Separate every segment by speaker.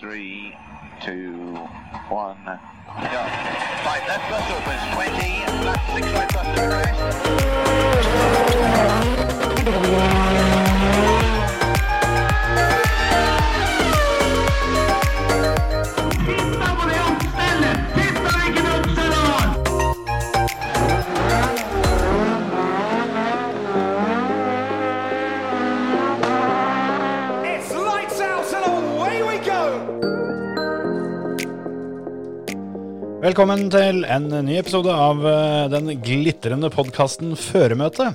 Speaker 1: three, two, one, go. Right, left bus opens 20, left six right bus to crest.
Speaker 2: It's lights out and away we go!
Speaker 3: Velkommen til en ny episode av eh, den glitrende podkasten Føremøte.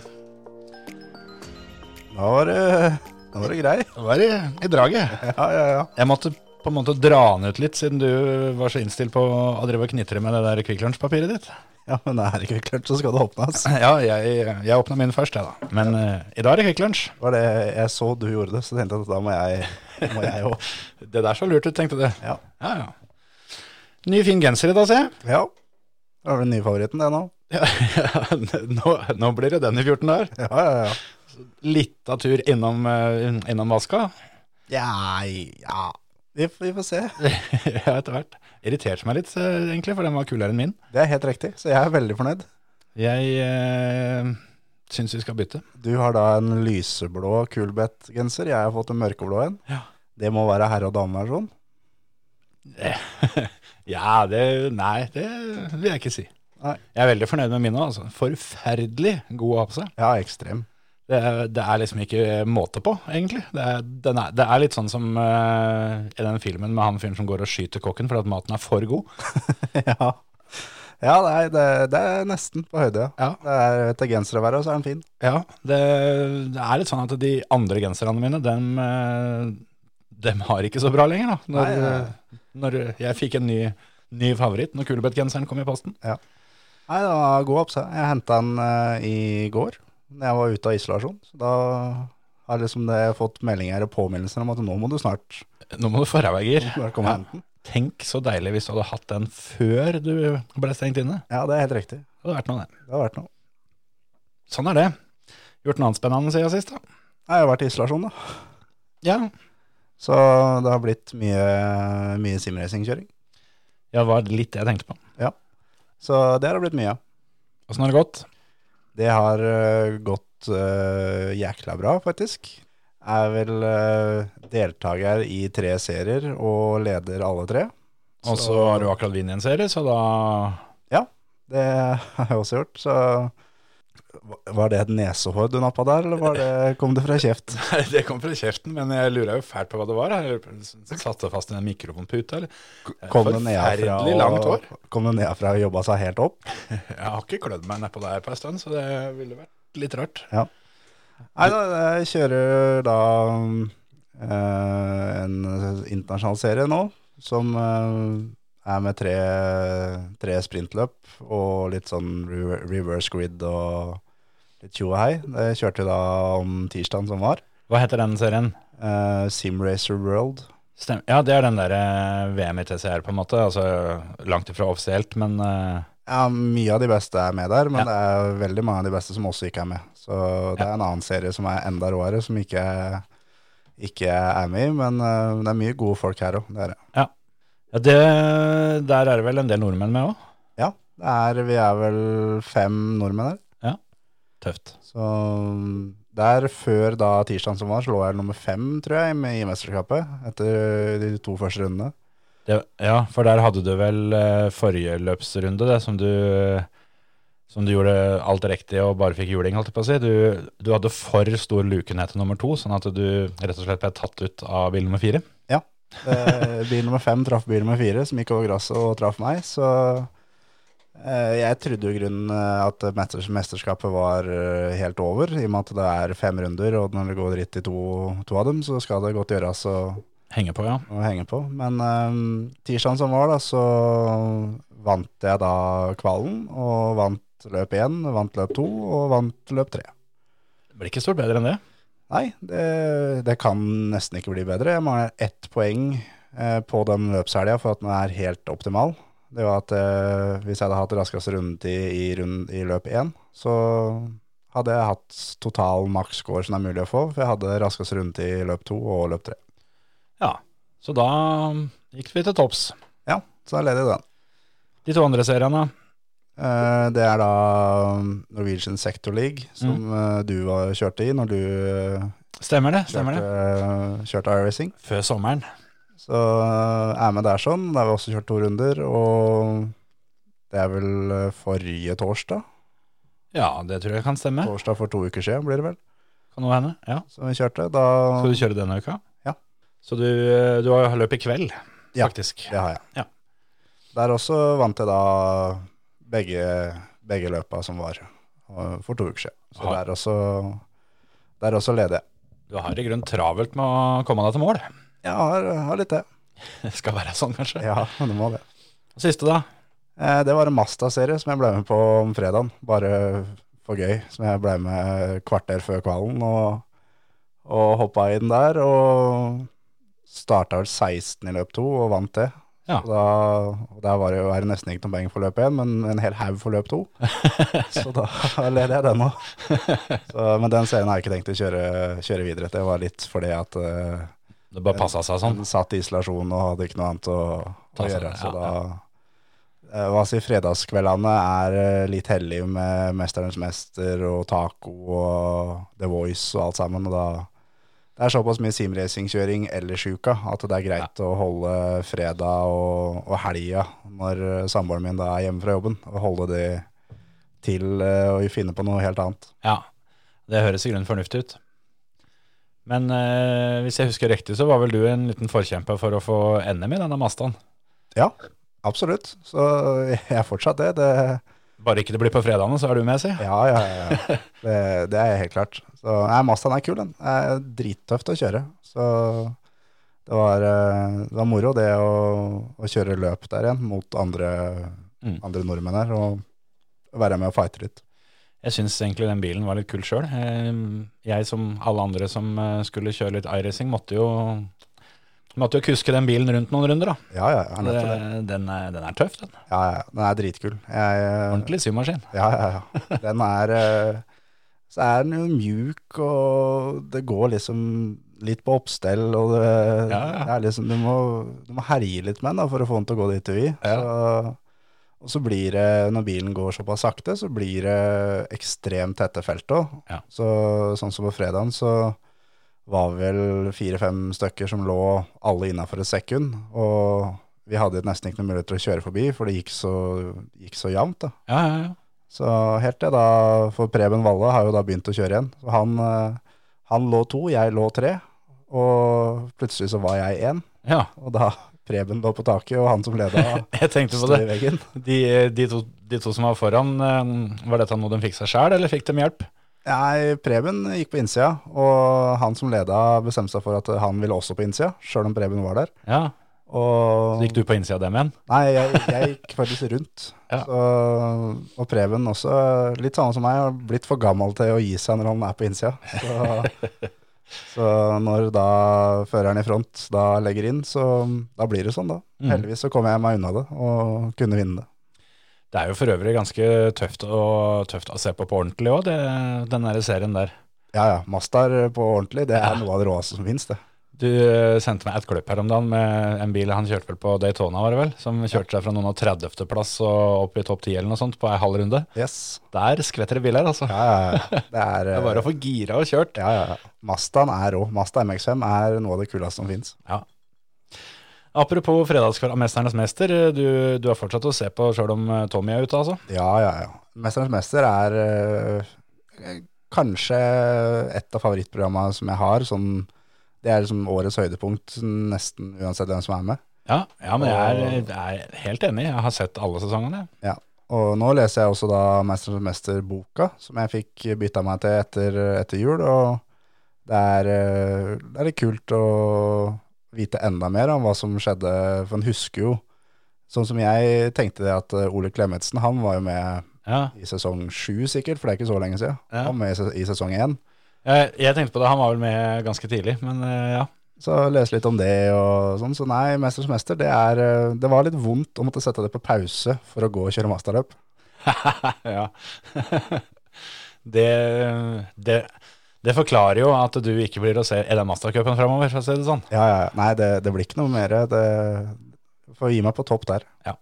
Speaker 4: Da var det, da var det grei.
Speaker 3: Det var i, i draget.
Speaker 4: Ja, ja, ja.
Speaker 3: Jeg måtte på en måte dra den ut litt, siden du var så innstilt på å drive og knitre med det der Kvikk Lunsj-papiret ditt.
Speaker 4: ja men er det ikke klart, så skal det åpnes.
Speaker 3: Ja, jeg, jeg åpna min først, jeg, da. Men eh, i dag er det Kvikk Lunsj.
Speaker 4: Var det, jeg så du gjorde det, så tenkte jeg at da må jeg, må jeg jo.
Speaker 3: Det der så lurt ut, tenkte du.
Speaker 4: Ja.
Speaker 3: ja, ja. Ny, fin genser i dag, ser jeg.
Speaker 4: Ja. Det var den nye favoritten, det nå.
Speaker 3: Ja, nå, nå blir det den i 14 dager.
Speaker 4: Ja, ja, ja.
Speaker 3: Lita tur innom, eh, innom vaska.
Speaker 4: Ja, ja. Vi, f- vi får se.
Speaker 3: ja, etter hvert. Irriterte meg litt, eh, egentlig, for den var kulere enn min.
Speaker 4: Det er helt riktig, så jeg er veldig fornøyd.
Speaker 3: Jeg eh, syns vi skal bytte.
Speaker 4: Du har da en lyseblå kulbett-genser, jeg har fått en mørkeblå en.
Speaker 3: Ja.
Speaker 4: Det må være herre- og dameversjon.
Speaker 3: Ja, det Nei, det vil jeg ikke si.
Speaker 4: Nei.
Speaker 3: Jeg er veldig fornøyd med mine. altså. Forferdelig god å ha på seg.
Speaker 4: Ja, ekstrem.
Speaker 3: Det, er- det er liksom ikke måte på, egentlig. Det er, den er, det er litt sånn som eh, i den filmen med han fyren som går og skyter kokken fordi at maten er for god.
Speaker 4: ja. Ja, det er, det, det er nesten på høyde.
Speaker 3: Ja.
Speaker 4: Det er etter genserværet, og så er den fin.
Speaker 3: Ja, det, det er litt sånn at de andre genserne mine, dem, eh, dem har ikke så bra lenger, da. Når, eh,
Speaker 4: Nei, nei.
Speaker 3: når jeg fikk en ny, ny favoritt når Kulebett-genseren kom i posten.
Speaker 4: Nei, det var god oppse. Jeg henta den eh, i går, når jeg var ute av isolasjon. Så da har liksom det fått meldinger og påminnelser om at nå må du snart,
Speaker 3: Nå må du få ræva, Gir.
Speaker 4: snart komme
Speaker 3: Ja.
Speaker 4: og hente den.
Speaker 3: Tenk så deilig hvis du hadde hatt den før du ble stengt inne.
Speaker 4: Ja, det er helt riktig.
Speaker 3: Det hadde vært noe, det.
Speaker 4: Det har vært noe.
Speaker 3: Sånn er det. Gjort noe annet spennende siden sist, da.
Speaker 4: Nei, Jeg har vært i isolasjon, da.
Speaker 3: Ja.
Speaker 4: Så det har blitt mye, mye simracingkjøring.
Speaker 3: ja, det var litt det jeg tenkte på.
Speaker 4: Så det har det blitt mye av.
Speaker 3: Åssen har det gått?
Speaker 4: Det har eh, gått eh, jækla bra, faktisk. Er vel eh, deltaker i tre serier og leder alle tre.
Speaker 3: Og så har du akkurat vunnet en serie, så da
Speaker 4: Det har jeg også gjort, så Var det et nesehår du nappa der, eller var det, kom det fra kjeft?
Speaker 3: Nei, det kom fra kjeften, men jeg lurer jo fælt på hva det var. Jeg satte det fast i den mikrofonputa, eller?
Speaker 4: Kom det nedafra
Speaker 3: Forferdelig langt hår.
Speaker 4: og, kom det nedafra og jobba seg helt opp?
Speaker 3: Jeg har ikke klødd meg nedpå der på en stund, så det ville vært litt rart.
Speaker 4: Nei, da, jeg kjører da mm, eh, en internasjonal serie nå, som eh, er med tre, tre sprintløp og litt sånn re- reverse grid og litt tjo og hei. Det kjørte vi da om tirsdagen som var.
Speaker 3: Hva heter den serien?
Speaker 4: Eh, Simracer World.
Speaker 3: Stem. Ja, det er den der eh, VM i TCR, på en måte. Altså langt ifra offisielt, men eh,
Speaker 4: Ja, mye av de beste er med der, men
Speaker 3: Ja.
Speaker 4: det er veldig mange av de beste som også ikke er med. Så det er en annen serie som er enda råere, som ikke, ikke er med i, men eh, det er mye gode folk her òg. Det er det.
Speaker 3: ja, det, der er det vel en del nordmenn med òg.
Speaker 4: Ja, det er, vi er vel fem nordmenn her.
Speaker 3: Tøft.
Speaker 4: Så der før da tirsdagen som var, så lå jeg nummer fem, tror jeg, med, i mesterskapet. Etter de to første rundene.
Speaker 3: Det, ja, for der hadde du vel eh, forrige løpsrunde, det, som du, som du gjorde alt riktig og bare fikk juling, holdt jeg på å si. Du, du hadde for stor luke ned til nummer to, sånn at du rett og slett ble tatt ut av bil nummer fire.
Speaker 4: Eh, bil nummer fem traff bil nummer fire, som gikk over gresset og traff meg. Så eh, jeg trodde jo i grunnen eh, at mesters mesterskapet var eh, helt over, i og med at det er fem runder, og når det går dritt i to, to av dem, så skal det godt gjøres å,
Speaker 3: Henge på, ja.
Speaker 4: å henge på. Men eh, tirsdagen som var, da, så vant jeg da kvalen, og vant løp én, vant løp to, og vant løp tre.
Speaker 3: Det blir ikke stort bedre enn det.
Speaker 4: Nei, det, det kan nesten ikke bli bedre. Jeg mangler ett poeng eh, på den løpshelga for at den er helt optimal. Det var at eh, hvis jeg hadde hatt raskeste rundetid i, rund, i løp én, så hadde jeg hatt total maks score som det er mulig å få, for jeg hadde raskeste rundetid i løp to og løp tre.
Speaker 3: Ja. Så da um, gikk vi til topps.
Speaker 4: Ja, så er ledig den.
Speaker 3: De to andre seriene,
Speaker 4: Eh, Det er da um, Norwegian Sector League, som
Speaker 3: Mm.
Speaker 4: eh, du var, kjørte i når du eh,
Speaker 3: stemmer det?
Speaker 4: kjørte, eh,
Speaker 3: stemmer det.
Speaker 4: kjørte iRacing.
Speaker 3: Før sommeren.
Speaker 4: Så eh, er med der sånn. Der har vi også kjørt to runder, og det er vel eh, forrige torsdag.
Speaker 3: Ja, det tror jeg kan stemme.
Speaker 4: Torsdag for to uker siden blir det vel,
Speaker 3: Kan noe hende. Ja.
Speaker 4: som vi kjørte. Da,
Speaker 3: Skal du kjøre denne uka?
Speaker 4: Ja.
Speaker 3: Så du, eh, du har løp i kveld,
Speaker 4: Ja.
Speaker 3: faktisk.
Speaker 4: det har jeg.
Speaker 3: Ja.
Speaker 4: Der også vant jeg da begge, begge løpa som var eh, for to uker siden. Så
Speaker 3: Aha.
Speaker 4: der også, der også leder jeg.
Speaker 3: Du har i grunnen travelt med å komme deg til mål.
Speaker 4: Jeg har, har litt det.
Speaker 3: Det skal være sånn, kanskje.
Speaker 4: Ja, det må det.
Speaker 3: Siste, da.
Speaker 4: Eh, Det var en Masta-serie som jeg ble med på om fredagen, bare for gøy. Som jeg ble med kvarter før kvalen og, og hoppa inn der. Og starta vel 16 i løp to og vant det.
Speaker 3: Ja.
Speaker 4: Og Da, og der var det jo er det nesten ikke noen poeng for løp én, men en hel haug for løp to. Så da leder jeg den òg. Men den serien har jeg ikke tenkt å kjøre, kjøre videre etter. Det var litt fordi at eh,
Speaker 3: Det bare passa seg sånn.
Speaker 4: han satt i isolasjon og hadde ikke noe annet å,
Speaker 3: Ta
Speaker 4: å
Speaker 3: seg
Speaker 4: gjøre.
Speaker 3: det,
Speaker 4: Så
Speaker 3: ja,
Speaker 4: da Eh, Hva si, fredagskveldene er eh, litt hellige med 'Mesterens mester' og taco og The Voice og alt sammen. Og da det er såpass mye simracingkjøring ellers i uka at det er greit å holde fredag og, og helga, når eh, samboeren min da er hjemme fra jobben, og holde det til eh, å finne på noe helt annet.
Speaker 3: Ja, det høres i grunnen fornuftig ut. Men eh, hvis jeg husker riktig, så var vel du en liten forkjemper for å få NM i denne Mazdaen.
Speaker 4: Ja, absolutt. Så eh, jeg er fortsatt det. det
Speaker 3: Bare ikke det blir på fredagene, så er du med, si.
Speaker 4: Ja, ja, ja. ja. Det, det er helt klart. Så nei, Mazdaen er kul, den. Det er drittøft å kjøre. Så det var, eh, det var moro det å, å kjøre løp der igjen mot andre,
Speaker 3: Mm.
Speaker 4: andre nordmenn her, og være med og fighte litt.
Speaker 3: Jeg syns egentlig den bilen var litt kul sjøl. Jeg som alle andre som eh, skulle kjøre litt iRacing, måtte jo Måtte jo kuske den bilen rundt noen runder, da.
Speaker 4: Ja, ja, jeg er nødt til det.
Speaker 3: Det- Den er, den er tøff, den.
Speaker 4: Ja, ja, den er dritkul. Jeg, eh,
Speaker 3: Ordentlig symaskin.
Speaker 4: Ja, ja, ja. Den er eh, Så er den jo mjuk, og det går liksom litt på oppstell, og det,
Speaker 3: Ja, ja.
Speaker 4: det er liksom Du må, du må herje litt med den da, for å få den til å gå dit du vil. Så, og så blir det, når bilen går såpass sakte, så blir det ekstremt tette felt òg.
Speaker 3: Ja.
Speaker 4: Så, sånn som på fredagen, så var vel fire-fem stykker som lå alle innafor et sekund. Og vi hadde nesten ikke noen mulighet til å kjøre forbi, for det gikk så, gikk så jevnt. da.
Speaker 3: Ja, ja, ja.
Speaker 4: Så helt til da, for Preben Valle har jo da begynt å kjøre igjen. Så han, eh, han lå to, jeg lå tre, og plutselig så var jeg én.
Speaker 3: ja.
Speaker 4: Og da Preben lå på taket, og han som leda,
Speaker 3: Jeg tenkte på
Speaker 4: sto i
Speaker 3: det.
Speaker 4: veggen.
Speaker 3: De, de, to, de to som var foran, eh, var dette noe de fikk seg sjæl, eller fikk de hjelp?
Speaker 4: Nei, Preben gikk på innsida, og han som leda bestemte seg for at han ville også på innsida, sjøl om Preben var der.
Speaker 3: Ja.
Speaker 4: Og
Speaker 3: Så gikk du på innsida av dem igjen?
Speaker 4: Nei, jeg, jeg gikk faktisk rundt.
Speaker 3: Ja.
Speaker 4: Så, og Preben også, litt samme som meg, har blitt for gammel til å gi seg når han er på innsida. Så, så når da føreren i front da legger inn, så da blir det sånn, da.
Speaker 3: Mm.
Speaker 4: Heldigvis så kom jeg meg unna det og kunne vinne det.
Speaker 3: Det er jo for øvrig ganske tøft, å- tøft å se på på ordentlig òg, den der serien der.
Speaker 4: Ja ja, Mastar på ordentlig, det er noe av det råeste som finnes, det.
Speaker 3: Du eh, sendte meg et klipp her om dagen med en bil han kjørte vel på Daytona, var det vel? Som kjørte seg fra noen av 30. plass og opp i topp 10 eller noe sånt på ei halv runde.
Speaker 4: Yes.
Speaker 3: Der skvetter det biler, altså.
Speaker 4: Ja, ja, ja. Det er,
Speaker 3: Det er bare å få gira og kjørt.
Speaker 4: ja, ja. ja. Mazdaen er rå. Mazda MX5 er noe av det kuleste som finnes.
Speaker 3: Apropos fredagskveld av 'Mesternes mester', eh, du, du har fortsatt å se på sjøl om eh, Tommy er ute, altså?
Speaker 4: Ja, ja, ja. 'Mesternes mester' er eh, kanskje et av favorittprogrammene som jeg har. Sånn, det er liksom årets høydepunkt, nesten uansett hvem som er med.
Speaker 3: Ja, ja men jeg er, jeg er helt enig. Jeg har sett alle sesongene. jeg.
Speaker 4: Ja. Og nå leser jeg også da 'Mesternes mester'-boka, som jeg fikk bytta meg til etter, etter jul. Og det er, eh, det er litt kult å vite enda mer om hva som skjedde, for en husker jo Sånn som jeg tenkte det at eh, Ole Klemetsen, han var jo med
Speaker 3: Ja.
Speaker 4: i sesong sju sikkert, for det er ikke så lenge siden.
Speaker 3: Ja.
Speaker 4: Han var med i ses- i sesong én.
Speaker 3: Jeg, jeg tenkte på det, han var vel med ganske tidlig, men eh, ja.
Speaker 4: Så lese litt om det og sånn. Så nei, 'Mesterens mester', det, er, eh, det var litt vondt å måtte sette det på pause for å gå og kjøre masterløp.
Speaker 3: ja. det, det, Det forklarer jo at du ikke blir å se i den mastercupen framover, for å si det sånn.
Speaker 4: Ja, ja. ja. Nei, det, det blir ikke noe mer. Det får gi meg på topp der.
Speaker 3: Nei,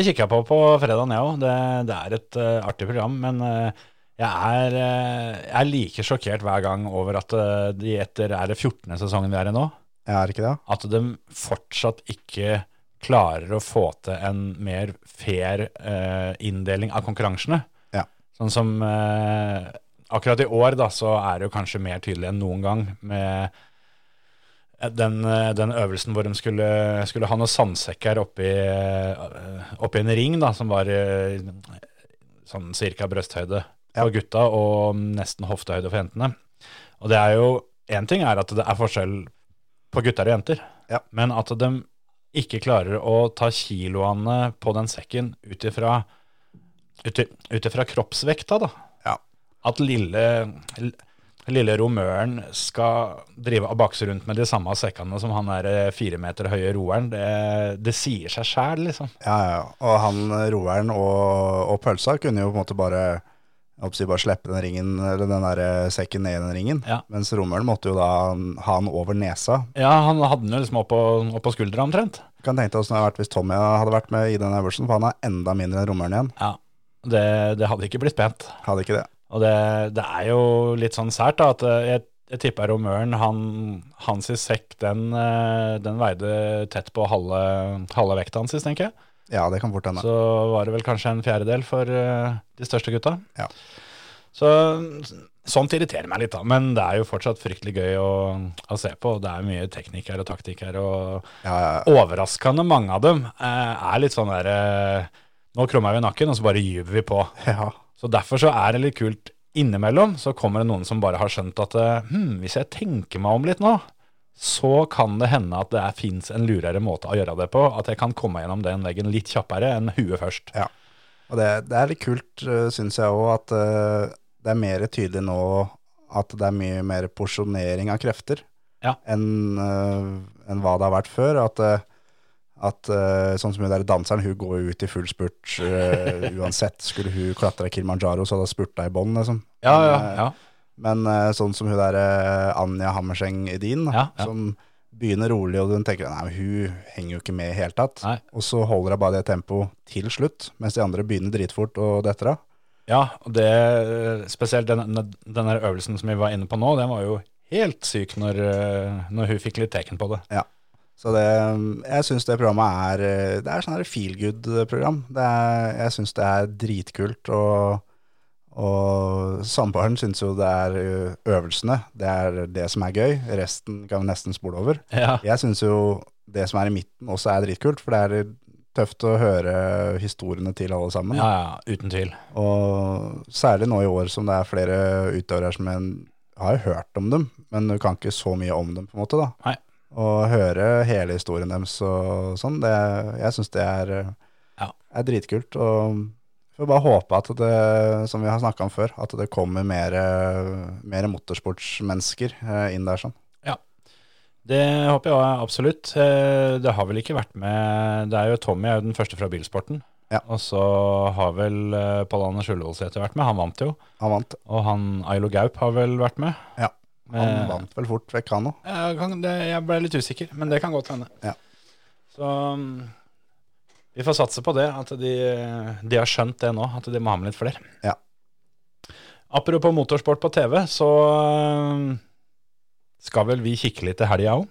Speaker 3: Jeg kikka på på fredagen, jeg òg. Det, det er et eh, artig program. Men eh, jeg, er, eh, jeg er like sjokkert hver gang over at eh, de etter er det 14. sesongen vi er i nå,
Speaker 4: Ja, er det ikke det?
Speaker 3: at de fortsatt ikke klarer å få til en mer fair eh, inndeling av konkurransene.
Speaker 4: Ja.
Speaker 3: Sånn som eh, akkurat i år da, så er det jo kanskje mer tydelig enn noen gang med den, eh, den øvelsen hvor de skulle, skulle ha noen sandsekker oppi, eh, oppi en ring da, som var eh, sånn cirka brøsthøyde for gutta og nesten hoftehøyde for jentene. Og det er jo, en ting er at det er forskjell på gutter og jenter,
Speaker 4: Ja.
Speaker 3: men at de ikke klarer å ta kiloene på den sekken ut ifra ut ut ifra kroppsvekta, da.
Speaker 4: Ja.
Speaker 3: At lille, lille romøren skal drive og bakse rundt med de samme sekkene som han der eh, fire meter høye roeren, det, det sier seg sjæl, liksom.
Speaker 4: Ja, ja. Og han eh, roeren og, og pølsa kunne jo på en måte bare jeg håper å si, bare slippe den ringen, eller den der eh, sekken ned i den ringen.
Speaker 3: Ja.
Speaker 4: Mens romeren måtte jo da ha den over nesa.
Speaker 3: Ja, han hadde den jo liksom oppå, oppå skuldra omtrent.
Speaker 4: Kan tenke deg åssen det hadde vært hvis Tommy hadde vært med i den øvelsen, for han er enda mindre enn romeren igjen.
Speaker 3: Ja, det, det hadde ikke blitt pent.
Speaker 4: Hadde ikke det.
Speaker 3: Og det, det er jo litt sånn sært da, at eh, jeg, jeg tipper romøren, han, hans i sekk, den, eh, den veide tett på halve, halve vekta hans, tenker jeg.
Speaker 4: Ja, det kan fort hende.
Speaker 3: Så var det vel kanskje en fjerdedel for eh, de største gutta.
Speaker 4: Ja.
Speaker 3: Så sånt irriterer meg litt da, men det er jo fortsatt fryktelig gøy å, å se på. Det er mye teknikk her og taktikk her, og
Speaker 4: Ja, ja, ja.
Speaker 3: overraskende mange av dem eh, er litt sånn der, eh, nå krummer vi nakken, og så bare gyver vi på.
Speaker 4: ja.
Speaker 3: Så derfor så er det litt kult innimellom, så kommer det noen som bare har skjønt at eh, hm, hvis jeg tenker meg om litt nå, så kan det hende at det fins en lurere måte å gjøre det på. At jeg kan komme gjennom den veggen litt kjappere enn huet først.
Speaker 4: Og det, det er litt kult, syns jeg òg, at eh, det er mer tydelig nå at det er mye mer porsjonering av krefter
Speaker 3: Ja.
Speaker 4: enn eh, enn hva det har vært før. At, eh, at eh, sånn som hun der danseren, hun går jo ut i full spurt eh, uansett. Skulle hun klatra Kilimanjaro, så hadde hun spurta i bånn, liksom.
Speaker 3: Ja, ja,
Speaker 4: Men, eh,
Speaker 3: ja.
Speaker 4: Men eh, sånn som hun der eh, Anja Hammerseng Edin,
Speaker 3: Ja, ja.
Speaker 4: som begynner rolig, og hun tenker nei, men hun henger jo ikke med i det hele tatt.
Speaker 3: Nei.
Speaker 4: Og så holder hun bare det tempoet til slutt, mens de andre begynner dritfort og detter av.
Speaker 3: ja og det, eh, spesielt den, den der øvelsen som vi var inne på nå, den var jo helt syk når, eh, når hun fikk litt teken på det.
Speaker 4: Så det, jeg syns det programmet er eh, Det er sånn her feel good-program. Det er- Jeg syns det er dritkult. Og, og samboeren syns jo det er eh, øvelsene, det er det som er gøy. Resten kan vi nesten spole over.
Speaker 3: Ja,
Speaker 4: Jeg syns jo det som er i midten også er dritkult, for det er tøft å høre historiene til alle sammen.
Speaker 3: ja, ja uten tvil.
Speaker 4: Og særlig nå i år som det er flere utøvere her som en har jo hørt om dem, men du kan ikke så mye om dem, på en måte. da.
Speaker 3: Nei.
Speaker 4: Å høre hele historien deres og sånn, det, jeg syns det er,
Speaker 3: Ja.
Speaker 4: er dritkult. Og får bare håpe at det, som vi har snakka om før, at det kommer mer, mer motorsportsmennesker eh, inn der sånn.
Speaker 3: Det håper jeg absolutt. Eh, Det har vel ikke vært med Det er jo Tommy er jo den første fra bilsporten.
Speaker 4: Ja.
Speaker 3: Og så har vel eh, Pål Anders Ullevålseter vært med. Han vant jo.
Speaker 4: Han vant.
Speaker 3: Og han Ailo Gaup har vel vært med.
Speaker 4: Ja. Han
Speaker 3: Eh,
Speaker 4: vant vel fort vekk, han òg.
Speaker 3: Jeg, kan, det, jeg ble litt usikker, men det kan godt hende.
Speaker 4: Ja.
Speaker 3: Så mm, vi får satse på det, at de, de har skjønt det nå, at de må ha med litt flere.
Speaker 4: Ja.
Speaker 3: Apropos motorsport på TV, så mm, skal vel vi kikke litt til helga òg.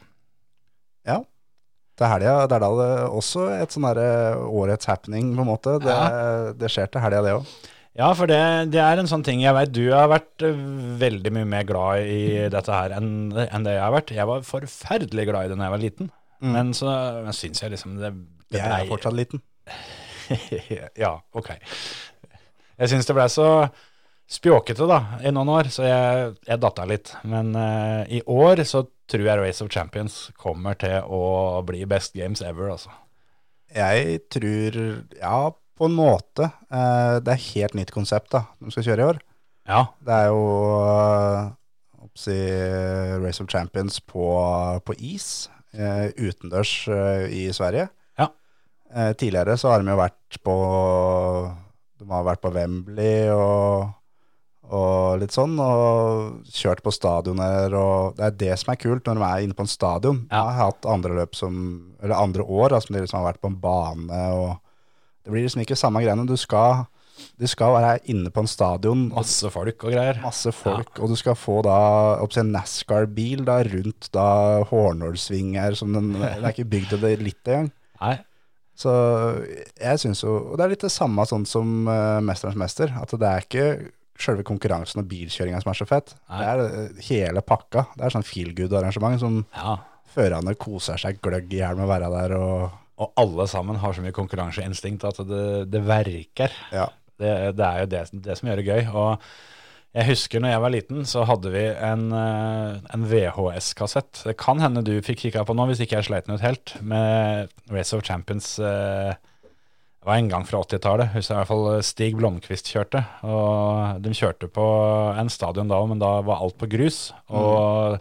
Speaker 4: Til helga, det er da det også et sånn derre årets happening, på en måte. Det, det skjer til helga, det òg.
Speaker 3: Ja, for det, det er en sånn ting jeg vet du har vært eh, veldig mye mer glad i dette her enn, enn det jeg har vært. Jeg var forferdelig glad i det da jeg var liten,
Speaker 4: Mm.
Speaker 3: men så men syns jeg liksom det, det
Speaker 4: Jeg er
Speaker 3: blei-
Speaker 4: fortsatt liten.
Speaker 3: ja, ok. Jeg syns det blei så spjåkete da, i noen år, så jeg, jeg datta litt. Men eh, i år så tror jeg Race of Champions kommer til å bli best games ever, altså.
Speaker 4: Jeg tror Ja, på en måte. Eh, Det er helt nytt konsept da, de skal kjøre i år.
Speaker 3: Ja,
Speaker 4: Det er jo eh, oppsi, Race of Champions på, på is, eh, utendørs eh, i Sverige.
Speaker 3: Ja.
Speaker 4: Eh, Tidligere så har de jo vært på De har vært på Wembley og, og litt sånn, og kjørt på stadioner, og det er det som er kult når de er inne på en stadion.
Speaker 3: Ja.
Speaker 4: Jeg har hatt andre løp som, eller andre år da, som de liksom har vært på en bane, og det blir liksom ikke samme greiene. Du skal, du skal være inne på en stadion, og
Speaker 3: Masse folk og greier.
Speaker 4: masse folk, og du skal få da, opp en NASCAR-bil da, rundt da Hornålsvinger, som den, den er ikke bygd til det litt engang.
Speaker 3: Nei.
Speaker 4: Så jeg synes jo, og det er litt det samme sånn som eh, Mesterens Mester, at det er ikke selve konkurransen og bilkjøringen som er så fett, det
Speaker 3: Nei.
Speaker 4: er eh, hele pakka. Det er sånn feel-good-arrangement som
Speaker 3: Ja.
Speaker 4: førerne koser seg gløgg i hjel med å være der, og
Speaker 3: Og alle sammen har så mye konkurranseinstinkt at det, det verker.
Speaker 4: ja,
Speaker 3: Det, det er jo det, det som gjør det gøy. Og jeg husker når jeg var liten, så hadde vi en, eh, en VHS-kassett. Det kan hende du fikk kikka på nå, hvis ikke jeg sleit den ut helt, med Race of Champions. eh, Det var en gang fra 80-tallet. Husker jeg i hvert fall eh, Stig Blomkvist kjørte. Og de kjørte på en stadion da òg, men da var alt på grus. Og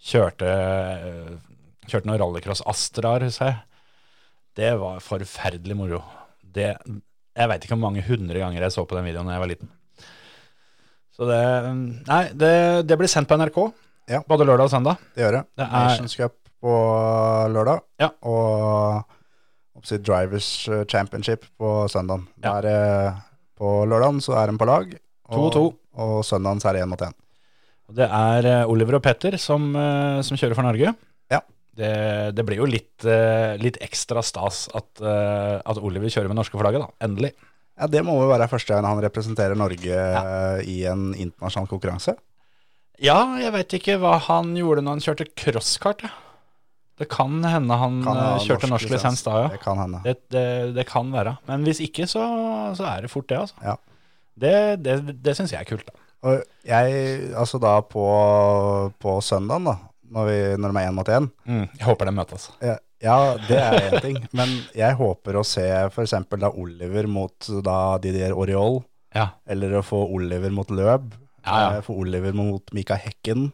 Speaker 3: kjørte, eh, kjørte noen rallycross Astraer, husker jeg. Det var forferdelig moro. Det, jeg veit ikke hvor mange hundre ganger jeg så på den videoen da jeg var liten. Så det mm, Nei, det, det blir sendt på NRK.
Speaker 4: Ja.
Speaker 3: Både lørdag og søndag.
Speaker 4: det gjør det.
Speaker 3: Det er-
Speaker 4: Nations Cup på lørdag,
Speaker 3: Ja.
Speaker 4: og oppsi, Drivers eh, Championship på søndagen.
Speaker 3: Ja.
Speaker 4: Der, eh, på lørdagen så er de på lag, og,
Speaker 3: To og to.
Speaker 4: og søndagen så er det en mot en.
Speaker 3: Det er eh, Oliver og Petter som, eh, som kjører for Norge.
Speaker 4: Ja.
Speaker 3: Det, det blir jo litt, eh, litt ekstra stas at, eh, at Oliver kjører med norske flagget, da. Endelig.
Speaker 4: Ja, Det må vel være første gang han representerer Norge eh, i en internasjonal konkurranse.
Speaker 3: Ja, jeg veit ikke hva han gjorde når han kjørte crosskart. Ja. Det kan hende han,
Speaker 4: Kan ha
Speaker 3: eh, kjørte norsk, lisens da, ja.
Speaker 4: Det kan hende.
Speaker 3: Det, det, det kan være. Men hvis ikke, så, så er det fort det, altså.
Speaker 4: Ja.
Speaker 3: Det, det, det syns jeg er kult, da.
Speaker 4: Og jeg, altså da på, på søndagen, da, når, vi, når de er én mot én
Speaker 3: Mm, Jeg håper de møtes.
Speaker 4: ja, ja, det er én ting. Men jeg håper å se f.eks. da Oliver mot da Didier Oriol,
Speaker 3: Ja.
Speaker 4: eller å få Oliver mot Løb.
Speaker 3: Ja, ja.
Speaker 4: eh, Få Oliver mot Mika Hekken.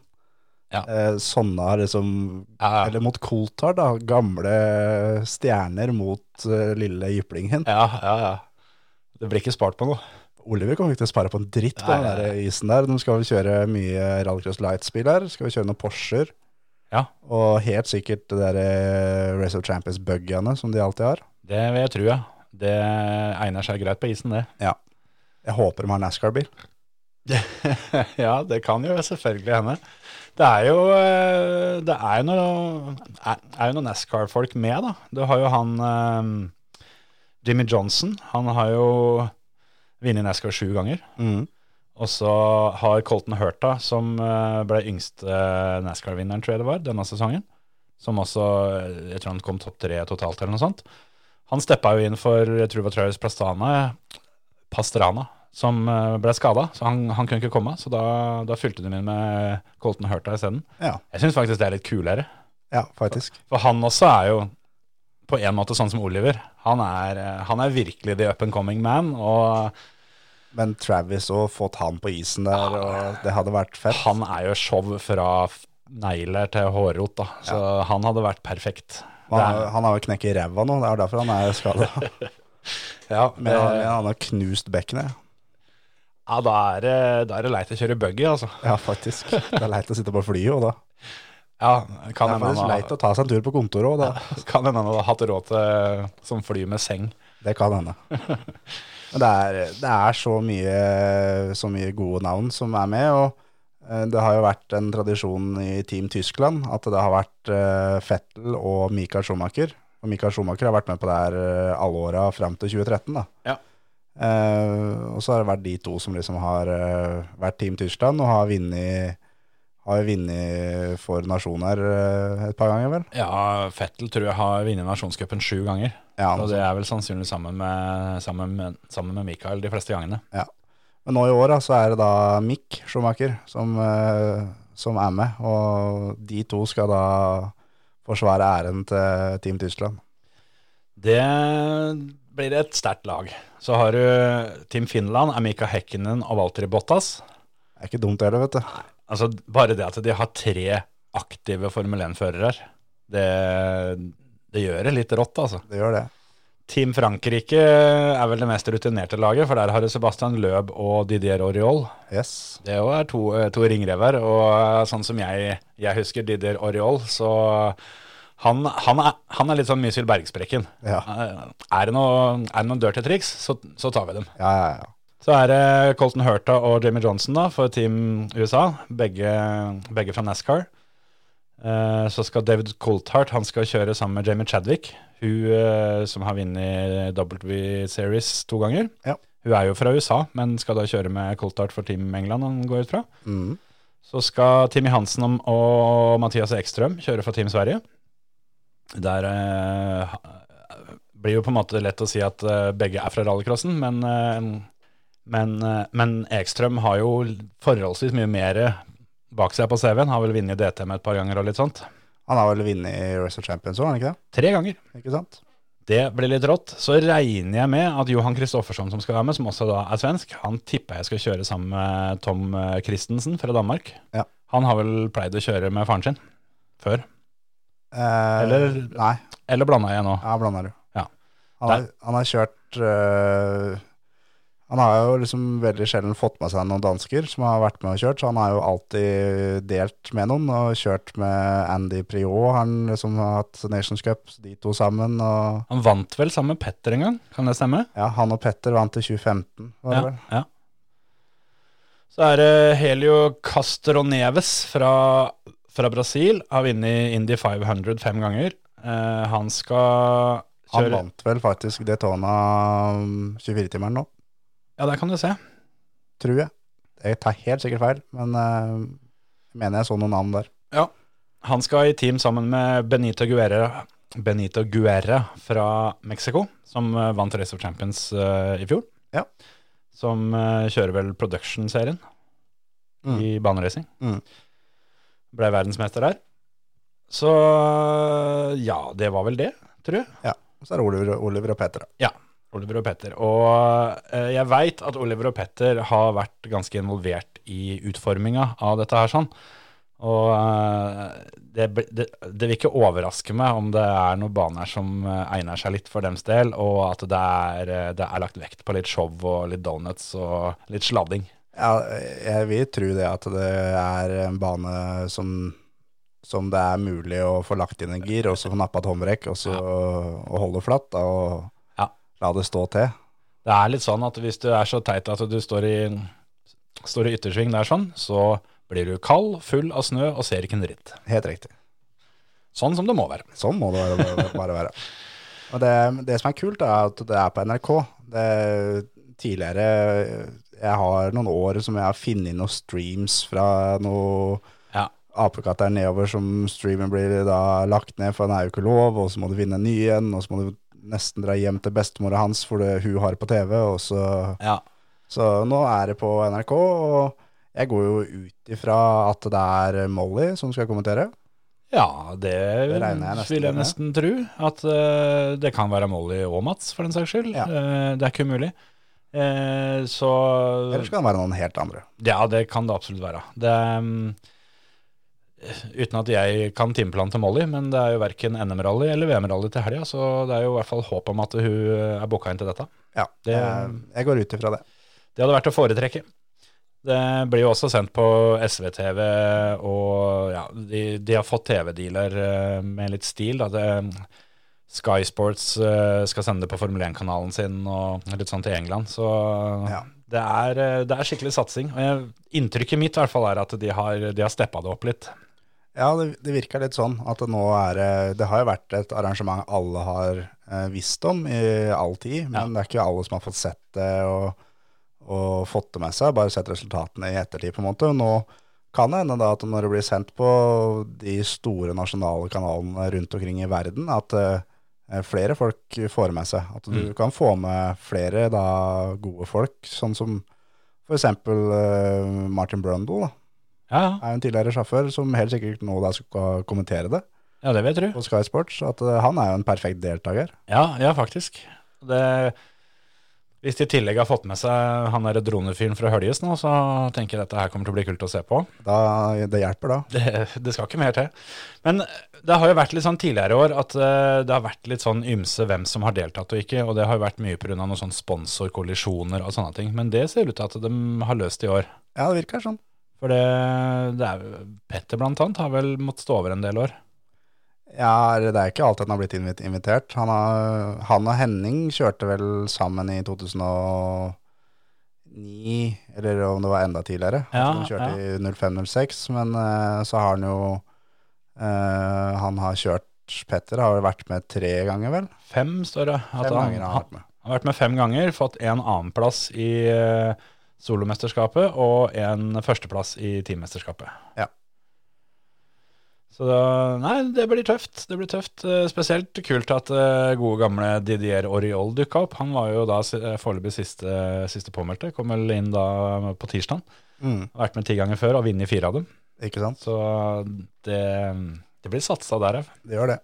Speaker 3: Ja.
Speaker 4: Eh, Sånne er liksom
Speaker 3: Ja, ja.
Speaker 4: Eller mot Coulthard, da. Gamle stjerner mot eh, lille jyplingen.
Speaker 3: ja, ja, ja. Det blir ikke spart på noe.
Speaker 4: Oliver kommer ikke til å spare på en dritt på
Speaker 3: Nei,
Speaker 4: den der isen der. De skal vel kjøre mye Rallycross Lights-bil her. Skal vi kjøre noen Porscher.
Speaker 3: Ja.
Speaker 4: Og helt sikkert det der eh, Race of Champions-buggyene som de alltid har.
Speaker 3: Det vil jeg tro, ja. Det egner seg greit på isen, det.
Speaker 4: Jeg håper de har NASCAR-bil.
Speaker 3: ja, det kan jo selvfølgelig hende. Det er jo, eh, det er jo noe, er, er jo noen E NASCAR-folk med, da. Du har jo han eh, Jimmy Johnson. Han har jo vunnet E NASCAR sju ganger. Og så har Colton Hurta, som eh, ble yngste eh, E NASCAR-vinneren, tror jeg det var, denne sesongen. Som også eh, Jeg tror han kom topp tre totalt, eller noe sånt. Han steppa jo inn for jeg tror det var Travis Plastana, Pastrana, som eh, ble skada. Så han, han kunne ikke komme, så da, da fylte de inn med Colton Hurta isteden.
Speaker 4: Ja.
Speaker 3: Jeg syns faktisk det er litt kulere.
Speaker 4: ja, faktisk.
Speaker 3: For han også er jo på en måte sånn som Oliver. Han er, eh, han er virkelig the up and coming man. og...
Speaker 4: Men Travis òg, fått han på isen der, og det hadde vært fett.
Speaker 3: Han er jo show fra f- negler til hårrot, da. Så han hadde vært perfekt.
Speaker 4: Han, har- han har jo knekket ræva nå, det er derfor han er skada.
Speaker 3: Ja,
Speaker 4: Men han, men han har knust bekkenet.
Speaker 3: Eh, ja, da, er det, da er det leit å kjøre buggy, altså.
Speaker 4: Ja, faktisk. Det er leit å sitte på flyet òg, da.
Speaker 3: Ja,
Speaker 4: Det
Speaker 3: kan
Speaker 4: er
Speaker 3: hende
Speaker 4: faktisk
Speaker 3: han
Speaker 4: leit
Speaker 3: har-
Speaker 4: å ta seg en tur på kontoret òg, da.
Speaker 3: kan hende han hadde hatt råd til eh, som fly med seng.
Speaker 4: Det kan hende. Men det er, det er så, mye, så mye gode navn som er med, og eh, det har jo vært en tradisjon i Team Tyskland at det har vært eh, Vettel og Mikael Schumacher. Og Mikael Schumacher har vært med på det her eh, alle åra fram til 2013, da.
Speaker 3: Ja.
Speaker 4: Eh, og så har det vært de to som liksom har eh, vært Team Tyskland og har vunnet har jo vunnet for nasjoner eh, et par ganger, vel?
Speaker 3: Ja, Fettel tror jeg har vunnet nasjonscupen sju ganger.
Speaker 4: Ja, altså.
Speaker 3: Og det er vel sannsynlig sammen med, sammen med, sammen med Michael de fleste gangene.
Speaker 4: Men nå i år da, så er det da Mick Schumacher som, eh, som er med, og de to skal da forsvare æren til Team Tyskland.
Speaker 3: Det blir et sterkt lag. Så har du Team Finland, Amika Hekkinen og Valtteri Bottas.
Speaker 4: Det er ikke dumt heller, vet du.
Speaker 3: Altså, bare det at de har tre aktive Formel 1-førere, det, det gjør det litt rått, altså.
Speaker 4: Det gjør det.
Speaker 3: Team Frankrike er vel det mest rutinerte laget, for der har du Sebastian Løb og Didier Auriol.
Speaker 4: Yes.
Speaker 3: Det er jo er to, eh, to ringrever, og eh, sånn som jeg, jeg husker Didier Auriol, så han, han, er, han er litt sånn Mysil Bergsprekken.
Speaker 4: Ja.
Speaker 3: Eh, Er det noe- er det noen dirty triks, så, så tar vi dem.
Speaker 4: Ja, ja, ja.
Speaker 3: Så er det Colton Hurta og Jimmy Johnson da, for Team USA, begge, begge fra NASCAR. Eh, så skal David Coulthart han skal kjøre sammen med Jamie Chadwick, hun eh, som har vunnet W Series to ganger.
Speaker 4: Ja.
Speaker 3: Hun er jo fra USA, men skal da kjøre med Coulthart for Team England, han går ut fra.
Speaker 4: Mm.
Speaker 3: Så skal Timmy Hansen om- og Mathias Ekström kjøre for Team Sverige. Der eh, ha- blir jo på en måte lett å si at eh, begge er fra rallycrossen, men, eh, men, eh, men Ekström har jo forholdsvis mye mer bak seg på CV-en. Har vel vunnet DTM et par ganger og litt sånt.
Speaker 4: Han har vel vunnet i Race of Champions òg, har han ikke det?
Speaker 3: Tre ganger.
Speaker 4: Ikke sant?
Speaker 3: Det blir litt rått. Så regner jeg med at Johan Kristoffersson som skal være med, som også da er svensk, han tipper jeg skal kjøre sammen med Tom eh, Christensen fra Danmark.
Speaker 4: Ja.
Speaker 3: Han har vel pleid å kjøre med faren sin før.
Speaker 4: Eh,
Speaker 3: Eller-
Speaker 4: Nei,
Speaker 3: Eller blanda jeg nå?
Speaker 4: ja, blander du.
Speaker 3: Ja.
Speaker 4: Han, har, han har kjørt eh, Han har jo liksom veldig sjelden fått med seg noen dansker som har vært med og kjørt, så han har jo alltid delt med noen og kjørt med Andy Priot, han som har hatt Nations Cup, så de to sammen. og...
Speaker 3: Han vant vel sammen med Petter en gang, kan det stemme?
Speaker 4: Ja, han og Petter vant i 2015, var det
Speaker 3: Ja,
Speaker 4: vel?
Speaker 3: ja. Så er det Helio Castroneves fra, fra Brasil. Har vunnet Indy 500 fem ganger. Eh, han skal
Speaker 4: Han
Speaker 3: kjøre
Speaker 4: vant vel faktisk Daytona um, 24-timeren nå,
Speaker 3: Ja, der kan du se.
Speaker 4: tror jeg. Jeg tar helt sikkert feil, men eh, jeg mener jeg så noen navn der.
Speaker 3: Han skal i team sammen med Benito Guerra, Benito Guerra fra Mexico, som eh, vant Race of Champions eh, i fjor.
Speaker 4: Ja.
Speaker 3: Som eh, kjører vel Production-serien
Speaker 4: Mm.
Speaker 3: i baneracing.
Speaker 4: Mm.
Speaker 3: Ble verdensmester der. Så ja, det var vel det, tror jeg.
Speaker 4: Så er det Oliver, Oliver og Petter, da.
Speaker 3: Oliver og Petter. Og eh, jeg veit at Oliver og Petter har vært ganske involvert i utforminga av dette her, sånn. Og eh, det, bl- det, det vil ikke overraske meg om det er noen baner som eh, egner seg litt for dems del, og at det er, eh, det er lagt vekt på litt show og litt donuts og litt sladding.
Speaker 4: Ja, jeg vil tro det at det er en bane som, som det er mulig å få lagt inn en gir, og så få nappa et håndbrekk, og så og holde flatt, da, og
Speaker 3: Ja.
Speaker 4: la det stå til.
Speaker 3: Det er litt sånn at hvis du er så teit at du står i, står i yttersving der sånn, så blir du kald, full av snø og ser ikke en dritt.
Speaker 4: Helt riktig.
Speaker 3: Sånn som det må være.
Speaker 4: Sånn må det være, bare, bare være. Og det, det som er kult, er at det er på NRK. Det, tidligere Jeg har noen år som jeg har funnet noen streams fra noe
Speaker 3: Ja.
Speaker 4: apekatt der nedover som streamen blir da lagt ned, for den er jo ikke lov, og så må du finne en ny en, og så må du nesten dra hjem til bestemora hans, for det hun har på TV, og så
Speaker 3: Ja.
Speaker 4: så nå er det på NRK, og jeg går jo ut ifra at det er Molly som skal kommentere.
Speaker 3: Ja, det,
Speaker 4: Det regner jeg nesten
Speaker 3: vil jeg
Speaker 4: med.
Speaker 3: nesten tro. At eh, det kan være Molly og Mats, for den saks skyld.
Speaker 4: Ja.
Speaker 3: Eh, det er ikke umulig. Eh, så
Speaker 4: Eller skal det være noen helt andre?
Speaker 3: Ja, det kan det absolutt være. Det, mm, uten at jeg kan timeplanen til Molly, men det er jo verken NM-rally eller VM-rally til helga, så det er jo i hvert fall håp om at hun er booka inn til dette.
Speaker 4: Ja,
Speaker 3: Det-
Speaker 4: jeg, jeg går ut ifra det.
Speaker 3: Det hadde vært å foretrekke. Det blir jo også sendt på SVTV, og ja, de, de har fått TV-dealer eh, med litt stil. Da. Det, Sky Sports eh, skal sende det på Formel 1-kanalen sin og litt sånn til England. Så
Speaker 4: Ja.
Speaker 3: det, er, eh, det er skikkelig satsing. Og jeg, inntrykket mitt i hvert fall er at de har, de har steppa det opp litt.
Speaker 4: Ja, det, det virker litt sånn at det nå er eh, Det har jo vært et arrangement alle har eh, visst om i all tid, men
Speaker 3: Ja.
Speaker 4: det er ikke alle som har fått sett det og, og fått det med seg, bare sett resultatene i ettertid, på en måte. Nå kan det hende da at når det blir sendt på de store nasjonale kanalene rundt omkring i verden, at eh, flere folk får med seg. At du kan få med flere da gode folk, sånn som for eksempel eh, Martin Brundle, da
Speaker 3: Ja, ja.
Speaker 4: er jo en tidligere sjåfør som helt sikkert nå da skal kommentere det
Speaker 3: ja det vil jeg tro.
Speaker 4: på Sky Sports, at eh, han er jo en perfekt deltaker.
Speaker 3: Ja, ja faktisk. Det, Hvis de i tillegg har fått med seg han der dronefyren fra Høljes nå, så tenker jeg dette her kommer til å bli kult å se på.
Speaker 4: Da, det hjelper, da.
Speaker 3: Det, det skal ikke mer til. Men det har jo vært litt sånn tidligere år at eh, det har vært litt sånn ymse hvem som har deltatt og ikke, og det har jo vært mye pga. noen sånn sponsorkollisjoner og sånne ting. Men det ser ut til at de har løst i år.
Speaker 4: Ja, det virker sånn.
Speaker 3: For det, det er jo- Petter blant annet har vel måttet stå over en del år.
Speaker 4: Ja, eller det er ikke alltid han har blitt invit- invitert. Han, har, han og Henning kjørte vel sammen i 2009, eller om det var enda tidligere.
Speaker 3: Ja,
Speaker 4: de kjørte i 05-06, men eh, så har han jo eh, Han har kjørt Petter har vel vært med tre ganger, vel?
Speaker 3: Fem, står det. At
Speaker 4: Fem
Speaker 3: han-
Speaker 4: ganger har han vært med.
Speaker 3: Han har vært med fem ganger, fått en annenplass i eh, solomesterskapet og en førsteplass i teammesterskapet.
Speaker 4: Ja.
Speaker 3: Så da, nei, det blir tøft. Det blir tøft. Eh, Spesielt kult at eh, gode gamle Didier Oriol dukka opp. Han var jo da si- eh, foreløpig siste, siste påmeldte. Kom vel inn da på tirsdag.
Speaker 4: Mm,
Speaker 3: Vært med ti ganger før og vunnet fire av dem.
Speaker 4: ikke sant?
Speaker 3: Så det, det blir satsa derav.
Speaker 4: Det gjør det.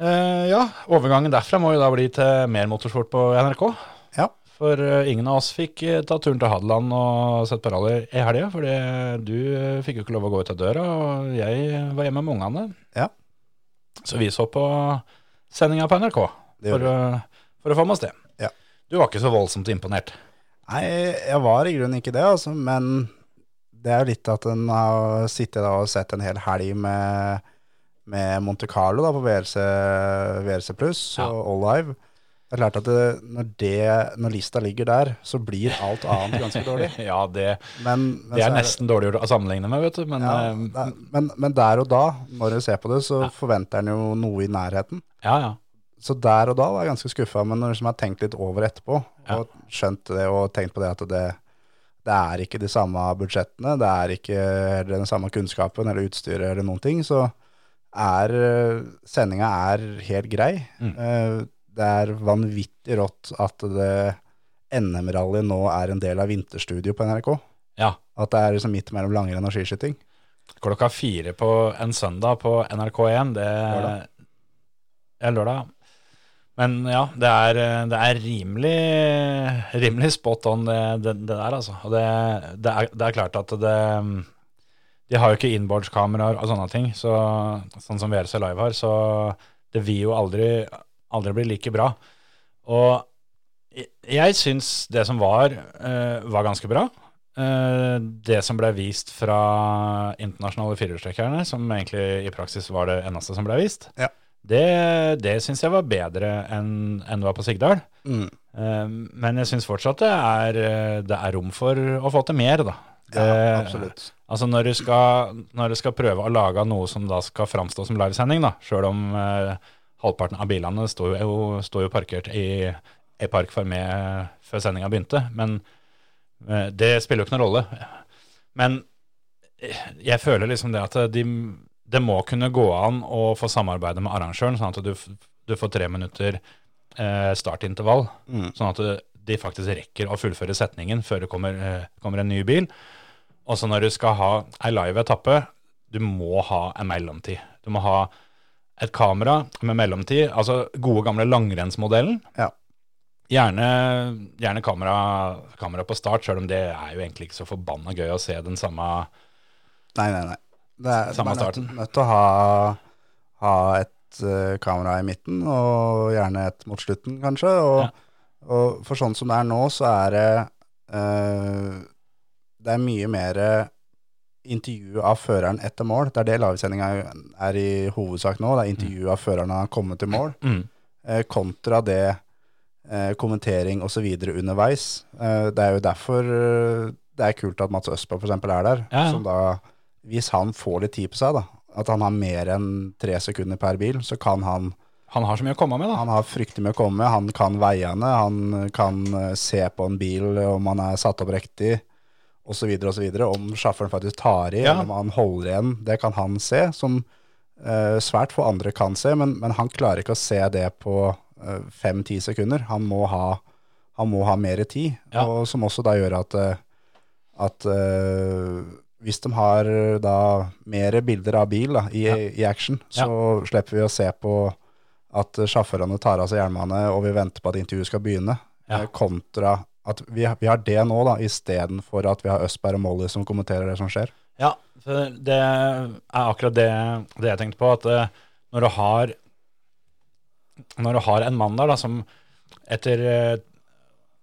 Speaker 3: Eh, ja, overgangen derfra må jo da bli til mer motorsport på NRK.
Speaker 4: Ja.
Speaker 3: For eh, ingen av oss fikk eh, ta turen til Hadeland og sett på rally i helga, fordi du eh, fikk jo ikke lov å gå ut av døra, og jeg var hjemme med ungene.
Speaker 4: Ja.
Speaker 3: Så vi så på sendinga på NRK
Speaker 4: Det
Speaker 3: for,
Speaker 4: gjorde
Speaker 3: å- for å få med oss det.
Speaker 4: Ja.
Speaker 3: Du var ikke så voldsomt imponert.
Speaker 4: Nei, jeg var i grunnen ikke det, altså, men det er jo litt at en har sittet da og sett en hel helg med, med Monte Carlo da, på VRC, VRC Plus og All Live. Det er klart at det, når, det, når lista ligger der, så blir alt annet ganske dårlig.
Speaker 3: ja, det,
Speaker 4: Men, men
Speaker 3: det
Speaker 4: så
Speaker 3: er nesten dårligere å sammenligne med, vet du. Men
Speaker 4: Ja,
Speaker 3: eh,
Speaker 4: det er- men, men der og da, når du ser på det, så forventer en jo noe i nærheten.
Speaker 3: ja, ja.
Speaker 4: Så der og da var jeg ganske skuffa, men når jeg liksom har tenkt litt over etterpå,
Speaker 3: Ja.
Speaker 4: og skjønt det og tenkt på det at det, det er ikke de samme budsjettene, det er ikke heller den samme kunnskapen eller utstyret eller noen ting, så er eh, sendinga er helt grei. Eh, Det er vanvittig rått at det NM-rally nå er en del av vinterstudio på NRK.
Speaker 3: ja.
Speaker 4: At det er liksom midt mellom langrenn og skiskyting.
Speaker 3: Klokka fire på en søndag på NRK1, det
Speaker 4: Lørdag.
Speaker 3: Ja, lørdag. ja. Men ja, det er, det er rimelig, rimelig spot on det, det, det der, altså. Og det, det, er, det er klart at det De har jo ikke inboardskameraer og sånne ting, så, sånn som VRC Live har, så det vil jo aldri, aldri bli like bra. Og jeg- jeg syns det som var, eh, var ganske bra. Eh, det som ble vist fra internasjonale firehjulstrekkerne, som egentlig i praksis var det eneste som ble vist,
Speaker 4: Ja.
Speaker 3: det, det syns jeg var bedre enn enn det var på Sigdal.
Speaker 4: Mm.
Speaker 3: Eh, men jeg syns fortsatt det er, eh, det er rom for å få til mer, da.
Speaker 4: Ja,
Speaker 3: Det-
Speaker 4: absolutt.
Speaker 3: Altså når du, skal, når du skal prøve å lage noe som da skal framstå som livesending, da, sjøl om eh, halvparten av bilene står jo, står jo parkert i, i Park Fermé før sendinga begynte, men eh, det spiller jo ikke noen rolle. Men eh, jeg føler liksom det at de, det må kunne gå an å få samarbeide med arrangøren, sånn at du, f- du får tre minutter eh, startintervall,
Speaker 4: Mm.
Speaker 3: sånn at de faktisk rekker å fullføre setningen før det kommer, eh, kommer en ny bil. Og så Altså, når du skal ha ei live etappe, du må ha en mellomtid. Du må ha et kamera med mellomtid, altså gode gamle langrennsmodellen.
Speaker 4: Ja.
Speaker 3: Gjerne, gjerne kamera, kamera på start, sjøl om det er jo egentlig ikke så forbanna gøy å se den samme
Speaker 4: Nei, nei, nei. Det er,
Speaker 3: Samme
Speaker 4: man er nødt-
Speaker 3: starten.
Speaker 4: nødt til å ha, ha et eh, kamera i midten, og gjerne et mot slutten, kanskje. Og, og for sånn som det er nå, så er det eh, Det er mye mer eh, intervju av føreren etter mål. Det er det livesendinga er i hovedsak nå. Det er intervju av føreren når han har kommet til mål
Speaker 3: Mm.
Speaker 4: eh, kontra det eh, kommentering osv. underveis. Eh, det er jo derfor eh, det er kult at Mats Østbø f.eks. er der.
Speaker 3: Ja, ja.
Speaker 4: Som da, hvis han får litt tid på seg, da, at han har mer enn tre sekunder per bil, så kan han
Speaker 3: Han har så mye å komme med, da.
Speaker 4: han har fryktelig med å komme, han kan veiene, han kan eh, se på en bil om han er satt opp riktig, osv., osv. Om sjåføren faktisk tar i,
Speaker 3: Ja.
Speaker 4: eller om han holder igjen, det kan han se, som eh, svært få andre kan se, men, men han klarer ikke å se det på eh, fem-ti sekunder. Han må ha, han må ha mer tid,
Speaker 3: Ja.
Speaker 4: og som også da gjør at eh, at eh, hvis de har eh, da mer bilder av bil da, i, i action, så slipper vi å se på at sjåførene tar av seg hjelmene og vi venter på at intervjuet skal begynne,
Speaker 3: Ja.
Speaker 4: eh, kontra at vi, vi har det nå, da, istedenfor at vi har Østberg og Molly som kommenterer det som skjer.
Speaker 3: Ja, for det er akkurat det, det jeg tenkte på, at eh, når du har når du har en mann der da, som etter eh,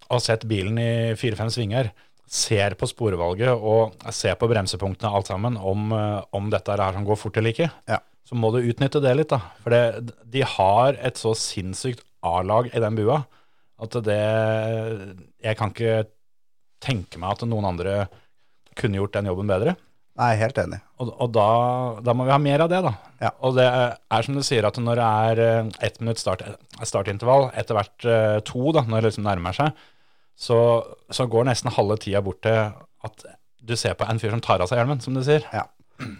Speaker 3: å ha sett bilen i fire-fem svinger, ser på sporvalget og ser på bremsepunktene og alt sammen, om, eh, om dette er her som går fort eller ikke,
Speaker 4: Ja.
Speaker 3: så må du utnytte det litt. da. For det, de har et så sinnssykt A-lag i den bua at det Jeg kan ikke tenke meg at noen andre kunne gjort den jobben bedre.
Speaker 4: Nei, helt enig.
Speaker 3: Og, og da, da må vi ha mer av det, da.
Speaker 4: Ja.
Speaker 3: Og det er som du sier, at når det er eh, ett minutts start, startintervall, etter hvert eh, to, da, når det liksom nærmer seg, så, så går nesten halve tida bort til at du ser på en fyr som tar av seg hjelmen, som du sier.
Speaker 4: Ja.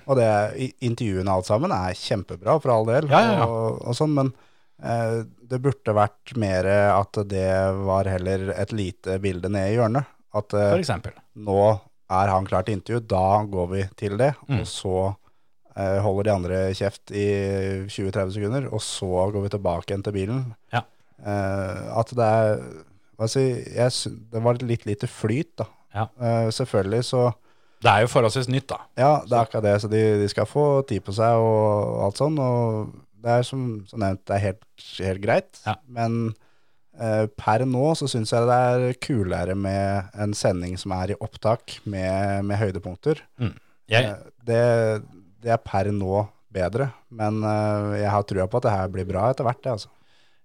Speaker 4: Og det, i- intervjuene og alt sammen er kjempebra, for all del,
Speaker 3: Ja, ja, ja.
Speaker 4: Og, og sånn, men eh, det burde vært mer at det var heller et lite bilde nede i hjørnet. At eh,
Speaker 3: For eksempel.
Speaker 4: nå er han klar til intervju, da går vi til det,
Speaker 3: Mm.
Speaker 4: og så eh, holder de andre kjeft i 20-30 sekunder, og så går vi tilbake igjen til bilen.
Speaker 3: Ja.
Speaker 4: Eh, at det er altså, jeg, sy- Det var litt lite flyt, da.
Speaker 3: Ja.
Speaker 4: Eh, selvfølgelig så
Speaker 3: Det er jo forholdsvis nytt, da.
Speaker 4: ja, det er akkurat det. Så de, de skal få tid på seg og alt sånn. Og det er som, som nevnt, det er helt, helt greit.
Speaker 3: Ja.
Speaker 4: Men eh, per nå så syns jeg det er kulere med en sending som er i opptak med, med høydepunkter.
Speaker 3: Mm. Jeg,
Speaker 4: Eh, Det, det er per nå bedre. Men eh, jeg har trua på at det her blir bra etter hvert, det, altså.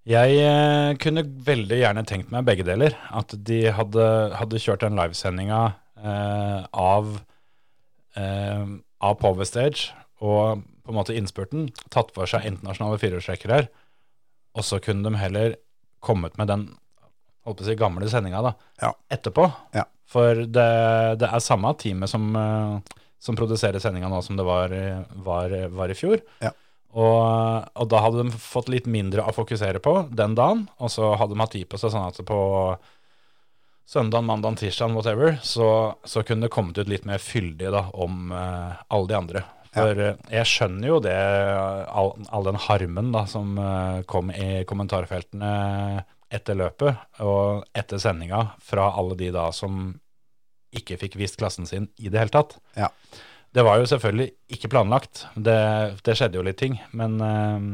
Speaker 3: Jeg eh, kunne veldig gjerne tenkt meg begge deler. At de hadde, hadde kjørt den livesendinga eh, av, eh, av Power Stage og på en måte innspurten, tatt for seg internasjonale firehjulstrekkere her, og så kunne de heller kommet med den holdt på å si, gamle sendinga da,
Speaker 4: Ja.
Speaker 3: etterpå.
Speaker 4: Ja.
Speaker 3: For det, det er samme teamet som, eh, som produserer sendinga nå som det var, i- var, var i fjor. Og, og da hadde de fått litt mindre å fokusere på den dagen, og så hadde de hatt tid på seg sånn at på søndag, mandag, tirsdag, whatever, så, så kunne det kommet ut litt mer fyldig da, om eh, alle de andre. For eh, jeg skjønner jo det, all, all den harmen da, som eh, kom i kommentarfeltene etter løpet og etter sendinga fra alle de da som ikke fikk vist klassen sin i det hele tatt.
Speaker 4: Ja.
Speaker 3: Det var jo selvfølgelig ikke planlagt. Det, det skjedde jo litt ting, men eh,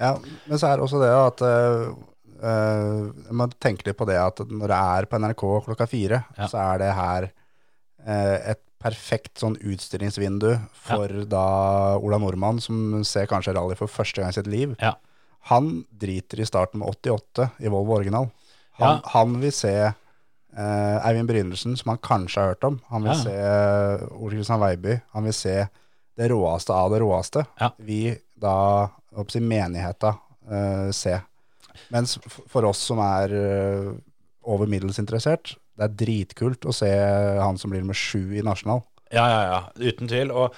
Speaker 4: Ja, men så er det også det at eh, eh, Man tenker litt på det at når det er på NRK klokka fire,
Speaker 3: Ja.
Speaker 4: så er det her eh, et perfekt sånn utstillingsvindu for da Ola Nordmann, som ser kanskje rally for første gang i sitt liv.
Speaker 3: Ja.
Speaker 4: Han driter i starten med 88 i Volvo original. Han,
Speaker 3: Ja.
Speaker 4: han vil se eh, Eivind Brynelsen, som han kanskje har hørt om. Han vil
Speaker 3: Ja.
Speaker 4: se eh, Ole Kristian Veiby. Han vil se det råeste av det råeste.
Speaker 3: Ja.
Speaker 4: Vi da, opp til menigheta, eh, se. Mens f- for oss som er eh, over middels interessert, det er dritkult å se han som blir med sju i nasjonal.
Speaker 3: Ja, ja, ja. Uten tvil. Og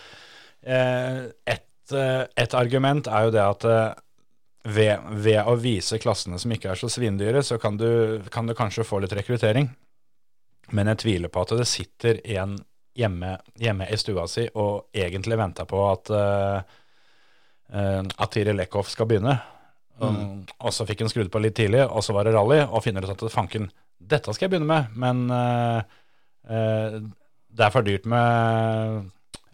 Speaker 3: eh, et, eh, et argument er jo det at eh, ved, ved å vise klassene som ikke er så svindyre, så kan du, kan du kanskje få litt rekruttering. Men jeg tviler på at det sitter en hjemme, hjemme i stua si og egentlig venter på at, eh, eh, at Tiril Lekhoff skal begynne. Um, Og så fikk hun skrudd på litt tidlig, og så var det rally, og finner ut at fanken, dette skal jeg begynne med, men eh, eh, det er for dyrt med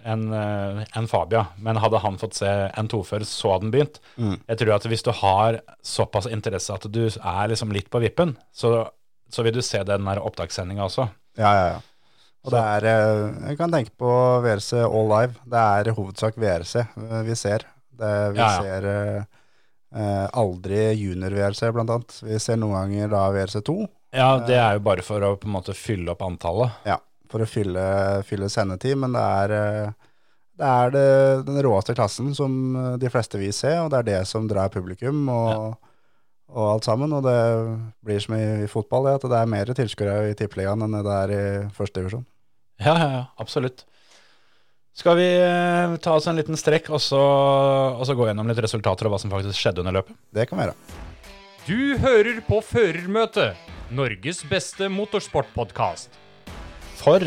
Speaker 3: en, eh, en Fabia, men hadde han fått se en tofører, så hadde han begynt. Jeg tror at hvis du har såpass interesse at du er liksom litt på vippen, så, så vil du se den der opptakssendinga også.
Speaker 4: Ja, ja, ja. Og det er, eh, jeg kan tenke på VRC All Live. Det er i hovedsak VRC eh, vi ser. Det, vi
Speaker 3: Ja, ja.
Speaker 4: ser eh, eh, aldri junior-VRC, blant annet. Vi ser noen ganger da VRC2,
Speaker 3: Ja, det er jo bare for å på en måte fylle opp antallet.
Speaker 4: ja, for å fylle, fylle sendetid, men det er, eh, det er det, den råeste klassen som eh, de fleste vil se, og det er det som drar publikum og, og alt sammen. Og det blir som i, i fotball, det, at det er mer tilskuere i tippeligaen enn det er i første divisjon.
Speaker 3: Ja, ja, ja, absolutt. Skal vi eh, ta oss en liten strekk, og så, og så gå gjennom litt resultater og hva som faktisk skjedde under løpet?
Speaker 4: Det kan vi gjøre.
Speaker 5: Du hører på Førermøtet, Norges beste motorsportpodkast.
Speaker 3: For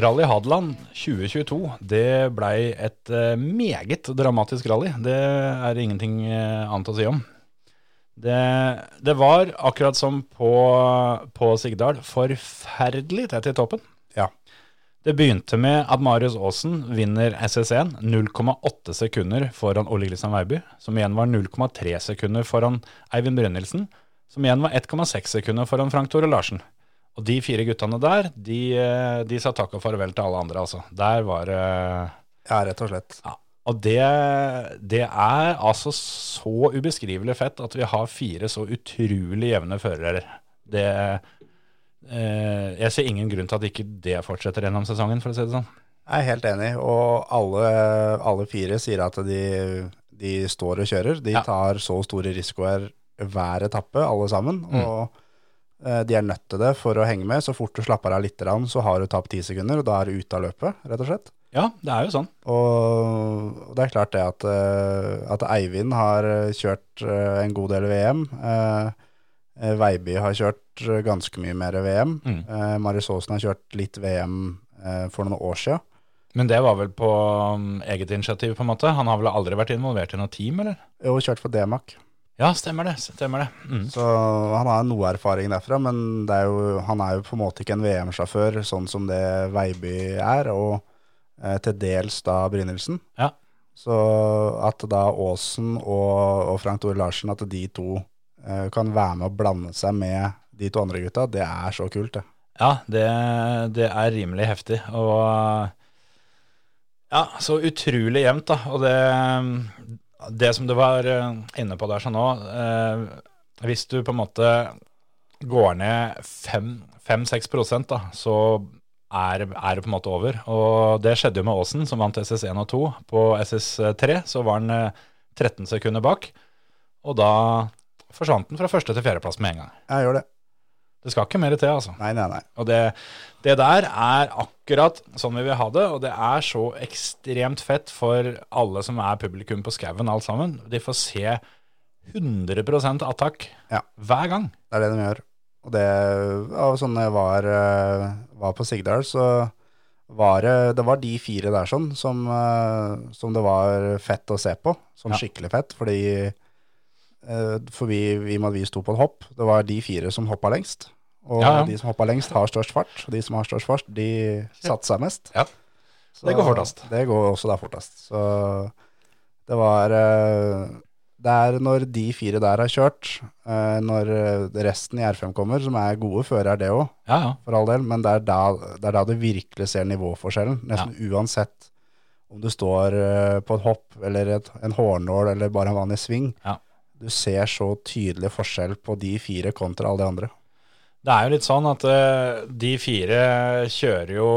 Speaker 3: Rally Hadeland 2022, det blei et eh, meget dramatisk rally. Det er ingenting eh, annet å si om. Det, det var, akkurat som på, på Sigdal, forferdelig tett i toppen.
Speaker 4: Ja.
Speaker 3: Det begynte med at Marius Aasen vinner SS1 0,8 sekunder foran Ole Kristian Weiby, som igjen var 0,3 sekunder foran Eivind Brynildsen, som igjen var 1,6 sekunder foran Frank Tore Larsen. Og de fire guttene der, de, eh, de sa takk og farvel til alle andre, altså. Der var det
Speaker 4: Ja, rett og slett.
Speaker 3: ja. Og det, det er altså så ubeskrivelig fett at vi har fire så utrolig jevne førere. Det, eh, jeg ser ingen grunn til at ikke det fortsetter gjennom sesongen, for å si det sånn.
Speaker 4: Jeg er helt enig, og alle, alle fire sier at de, de står og kjører. De
Speaker 3: Ja.
Speaker 4: tar så store risikoer hver etappe, alle sammen. Og eh, de er nødt til det for å henge med. Så fort du slapper av litt, grann, så har du tapt ti sekunder, og da er du ute av løpet, rett og slett.
Speaker 3: Ja, det er jo sånn.
Speaker 4: Og, og det er klart det at, eh, at Eivind har kjørt eh, en god del VM. eh, eh, Veiby har kjørt eh, ganske mye mer VM. Mm.
Speaker 3: Mm.
Speaker 4: Marius Aasen har kjørt litt VM eh, for noen år siden.
Speaker 3: Men det var vel på um, eget initiativ, på en måte. Han har vel aldri vært involvert i noe team, eller?
Speaker 4: Jo, kjørt for D-Mac.
Speaker 3: Ja, stemmer det. stemmer det. Mm.
Speaker 4: Så han har noe erfaring derfra, men det er jo, han er jo på en måte ikke en VM-sjåfør, sånn som det Veiby er, og eh, til dels da Brynildsen.
Speaker 3: Ja.
Speaker 4: Så at da Aasen og, og Frank Tore Larsen, at de to eh, kan være med og blande seg med de to andre gutta, det er så kult, det.
Speaker 3: Ja, det, det er rimelig heftig. Og ja, så utrolig jevnt, da. Og det, det som du var eh, inne på der sånn nå eh, Hvis du på en måte går ned 5-6 prosent, da, så er, er det på en måte over. Og det skjedde jo med Aasen, som vant SS1 og 2. På SS3 så var han eh, 13 sekunder bak, og da forsvant han fra første til fjerdeplass med en gang.
Speaker 4: Jeg gjør det.
Speaker 3: Det skal ikke mer til, altså.
Speaker 4: Nei, nei, nei.
Speaker 3: Og det, det der er akkurat sånn vi vil ha det, og det er så ekstremt fett for alle som er publikum på skauen, alt sammen. De får se 100 attakk
Speaker 4: Ja.
Speaker 3: hver gang.
Speaker 4: Det er det de gjør. Og det, ja, sånn når jeg var, eh, var på Sigdal, så var det, det var de fire der sånn, som, eh, som det var fett å se på. Sånn
Speaker 3: Ja.
Speaker 4: skikkelig fett, fordi eh, for vi, i og med at vi sto på et hopp, det var de fire som hoppa lengst. Og
Speaker 3: Ja, ja.
Speaker 4: de som hoppa lengst, har størst fart. Og de som har størst fart, de satser seg mest.
Speaker 3: Ja.
Speaker 4: Så
Speaker 3: Det går fortest.
Speaker 4: Det går også da fortest. Så det var eh, Det er når de fire der har kjørt, eh, når eh, resten i R5 kommer, som er gode førere, det òg,
Speaker 3: Ja, ja.
Speaker 4: for all del, men det er da, det er da du virkelig ser nivåforskjellen. Nesten uansett om du står eh, på et hopp eller et, en hårnål eller bare en vanlig sving.
Speaker 3: Ja.
Speaker 4: Du ser så tydelig forskjell på de fire kontra alle de andre.
Speaker 3: Det er jo litt sånn at eh, de fire kjører jo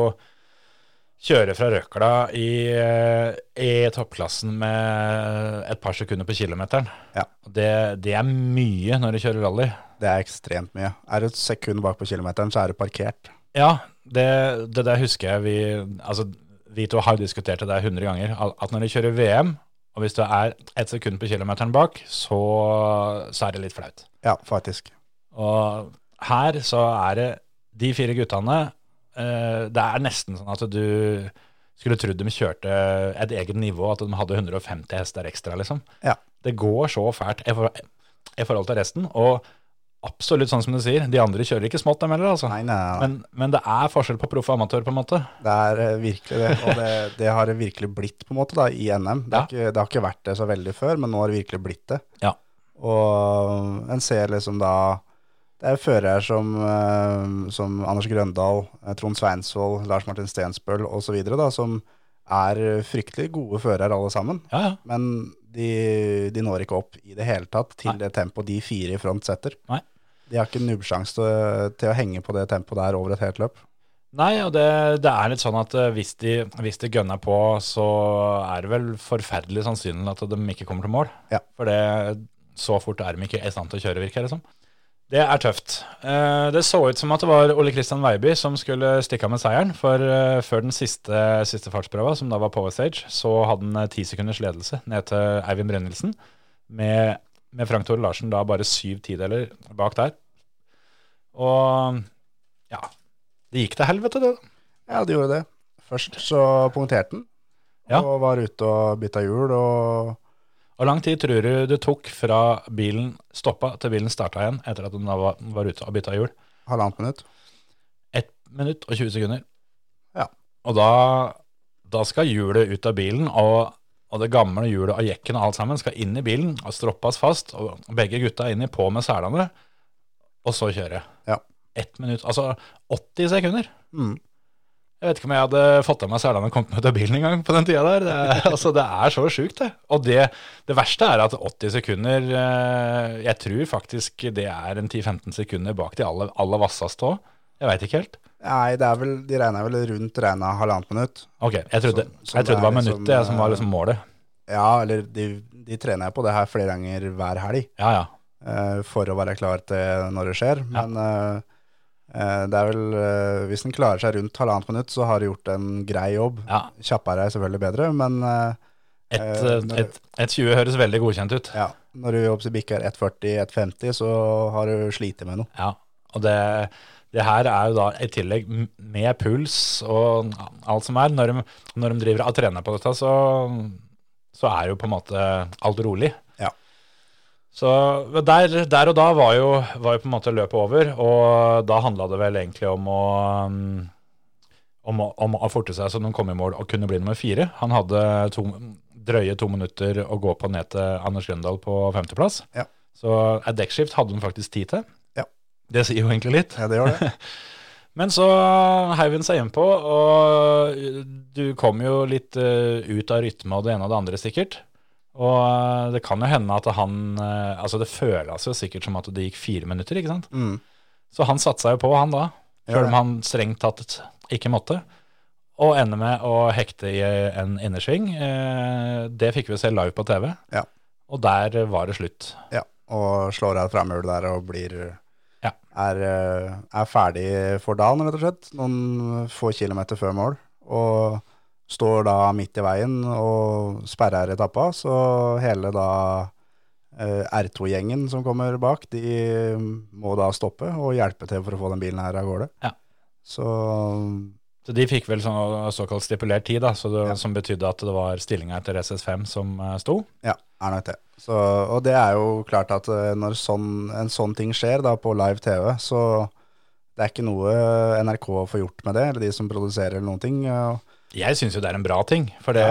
Speaker 3: Kjører fra røkla i, eh, i toppklassen med et par sekunder på kilometeren.
Speaker 4: Ja.
Speaker 3: Det, det er mye når du kjører rally.
Speaker 4: Det er ekstremt mye. Er du et sekund bak på kilometeren, så er du parkert.
Speaker 3: Ja, det, det der husker jeg vi Altså, vi to har jo diskutert det der 100 ganger. al- At når du kjører VM, og hvis du er ett sekund på kilometeren bak, så, så er det litt flaut.
Speaker 4: Ja, faktisk.
Speaker 3: Og her så er det de fire guttene eh, Det er nesten sånn at du skulle trodd de kjørte et eget nivå, at de hadde 150 hester ekstra, liksom.
Speaker 4: Ja.
Speaker 3: Det går så fælt i for- i forhold til resten. Og absolutt sånn som du sier, de andre kjører ikke smått, dem heller, altså.
Speaker 4: Nei, nei, nei.
Speaker 3: Men, men det er forskjell på proff og amatør, på en måte.
Speaker 4: Det er eh, virkelig det, og det, det har det virkelig blitt på en måte da, i NM. Det,
Speaker 3: Ja.
Speaker 4: har ikke, det har ikke vært det så veldig før, men nå har det virkelig blitt det.
Speaker 3: Ja.
Speaker 4: Og en ser liksom da Det er førere som, eh, som Anders Grøndal, eh, Trond Sveinsvold, Lars Martin Stensbøl osv., som er fryktelig gode førere alle sammen.
Speaker 3: Ja, ja.
Speaker 4: Men de, de når ikke opp i det hele tatt til det tempoet de fire i front setter.
Speaker 3: Nei.
Speaker 4: De har ikke nubbsjanse til, til å henge på det tempoet der over et helt løp.
Speaker 3: Nei, og det, det er litt sånn at eh, hvis de, hvis de gønner på, så er det vel forferdelig sannsynlig at de ikke kommer til mål.
Speaker 4: Ja.
Speaker 3: For det, så fort er de ikke i stand til å kjøre, virker det som. Det er tøft. Eh, Det så ut som at det var Ole Kristian Weiby som skulle stikke av med seieren, for eh, før den siste, siste fartsprøva, som da var power stage, så hadde han eh, ti sekunders ledelse ned til Eivind Brynildsen, med, med Frank Tore Larsen da bare syv tideler bak der. Og ja, det gikk til helvete, det. da.
Speaker 4: Ja, det gjorde det. Først så punkterte den,
Speaker 3: Ja.
Speaker 4: og var ute og bytta hjul, og
Speaker 3: Hvor lang tid tror du det tok fra bilen stoppa til bilen starta igjen, etter at den da var, var ute og bytta hjul?
Speaker 4: Halvannet minutt.
Speaker 3: 1 minutt og 20 sekunder.
Speaker 4: Ja.
Speaker 3: Og da, da skal hjulet ut av bilen, og, og det gamle hjulet og jekken og alt sammen skal inn i bilen og stroppes fast, og begge gutta er inni på med selene, og så kjøre.
Speaker 4: Ja.
Speaker 3: Ett minutt, altså 80 sekunder.
Speaker 4: Mm.
Speaker 3: Jeg vet ikke om jeg hadde fått av meg selene og kommet meg ut av bilen engang på den tida der. Det er, altså, det er så sjukt, det. Og det, det verste er at 80 sekunder eh, Jeg tror faktisk det er en 10-15 sekunder bak de aller, aller vasseste òg. Jeg veit ikke helt.
Speaker 4: Nei, det er vel, de regner vel rundt regna halvannet minutt.
Speaker 3: Ok, jeg trodde,
Speaker 4: Som- som
Speaker 3: jeg trodde det var
Speaker 4: er liksom,
Speaker 3: minuttet jeg, som var liksom målet.
Speaker 4: Ja, eller de, de trener jeg på det her flere ganger hver helg
Speaker 3: Ja, ja.
Speaker 4: eh, for å være klar til når det skjer. Men eh, eh, det er vel eh, Hvis en klarer seg rundt halvannet minutt, så har du gjort en grei jobb.
Speaker 3: ja.
Speaker 4: Kjappere er selvfølgelig bedre, men eh,
Speaker 3: Et,
Speaker 4: Eh,
Speaker 3: eh, et, et 20 høres veldig godkjent ut.
Speaker 4: ja, når du opp til bikker 1,40-1,50, så har du slitt med noe.
Speaker 3: Ja. Og det, det her er jo da i tillegg m- med puls og alt som er. Når de, når de driver og trener på dette, så, så er jo på en måte alt rolig.
Speaker 4: Ja.
Speaker 3: Så der, der og da var jo, var jo på en måte løpet over, og da handla det vel egentlig om å mm, om, å- om å forte seg så de kom i mål og kunne bli nummer fire. Han hadde to, drøye to minutter å gå på ned til Anders Grøndal på femteplass.
Speaker 4: Ja.
Speaker 3: Så et dekkskift hadde de faktisk tid til.
Speaker 4: Ja.
Speaker 3: Det sier jo egentlig litt.
Speaker 4: Ja, det gjør det.
Speaker 3: Men så heiv hun seg innpå, og du kom jo litt eh, ut av rytme og det ene og det andre, sikkert. Og eh, det kan jo hende at han eh, Altså, det føles jo sikkert som at det gikk fire minutter, ikke sant?
Speaker 4: Mm.
Speaker 3: Så han satsa jo på, han da.
Speaker 4: Ja,
Speaker 3: Sjøl
Speaker 4: det.
Speaker 3: om han strengt tatt ikke måtte. Og ender med å hekte i en innersving. Eh, Det fikk vi se live på TV.
Speaker 4: Ja.
Speaker 3: Og der var det slutt.
Speaker 4: Ja, og slår av et framhjul der og blir
Speaker 3: Ja.
Speaker 4: er, eh, er ferdig for dagen, rett og slett. Noen få kilometer før mål. Og står da midt i veien og sperrer etappa, så hele da eh, R2-gjengen som kommer bak, de må da stoppe og hjelpe til for å få den bilen her av gårde.
Speaker 3: Ja.
Speaker 4: Så
Speaker 3: Så de fikk vel sånn såkalt stipulert tid, da, så det,
Speaker 4: Ja.
Speaker 3: som betydde at det var stillinga etter SS5 som eh, sto.
Speaker 4: ja, er nok det. Så, og det er jo klart at eh, når sånn, en sånn ting skjer da på live TV, så det er ikke noe NRK får gjort med det, eller de som produserer eller noen ting. eh,
Speaker 3: Jeg syns jo det er en bra ting, for det,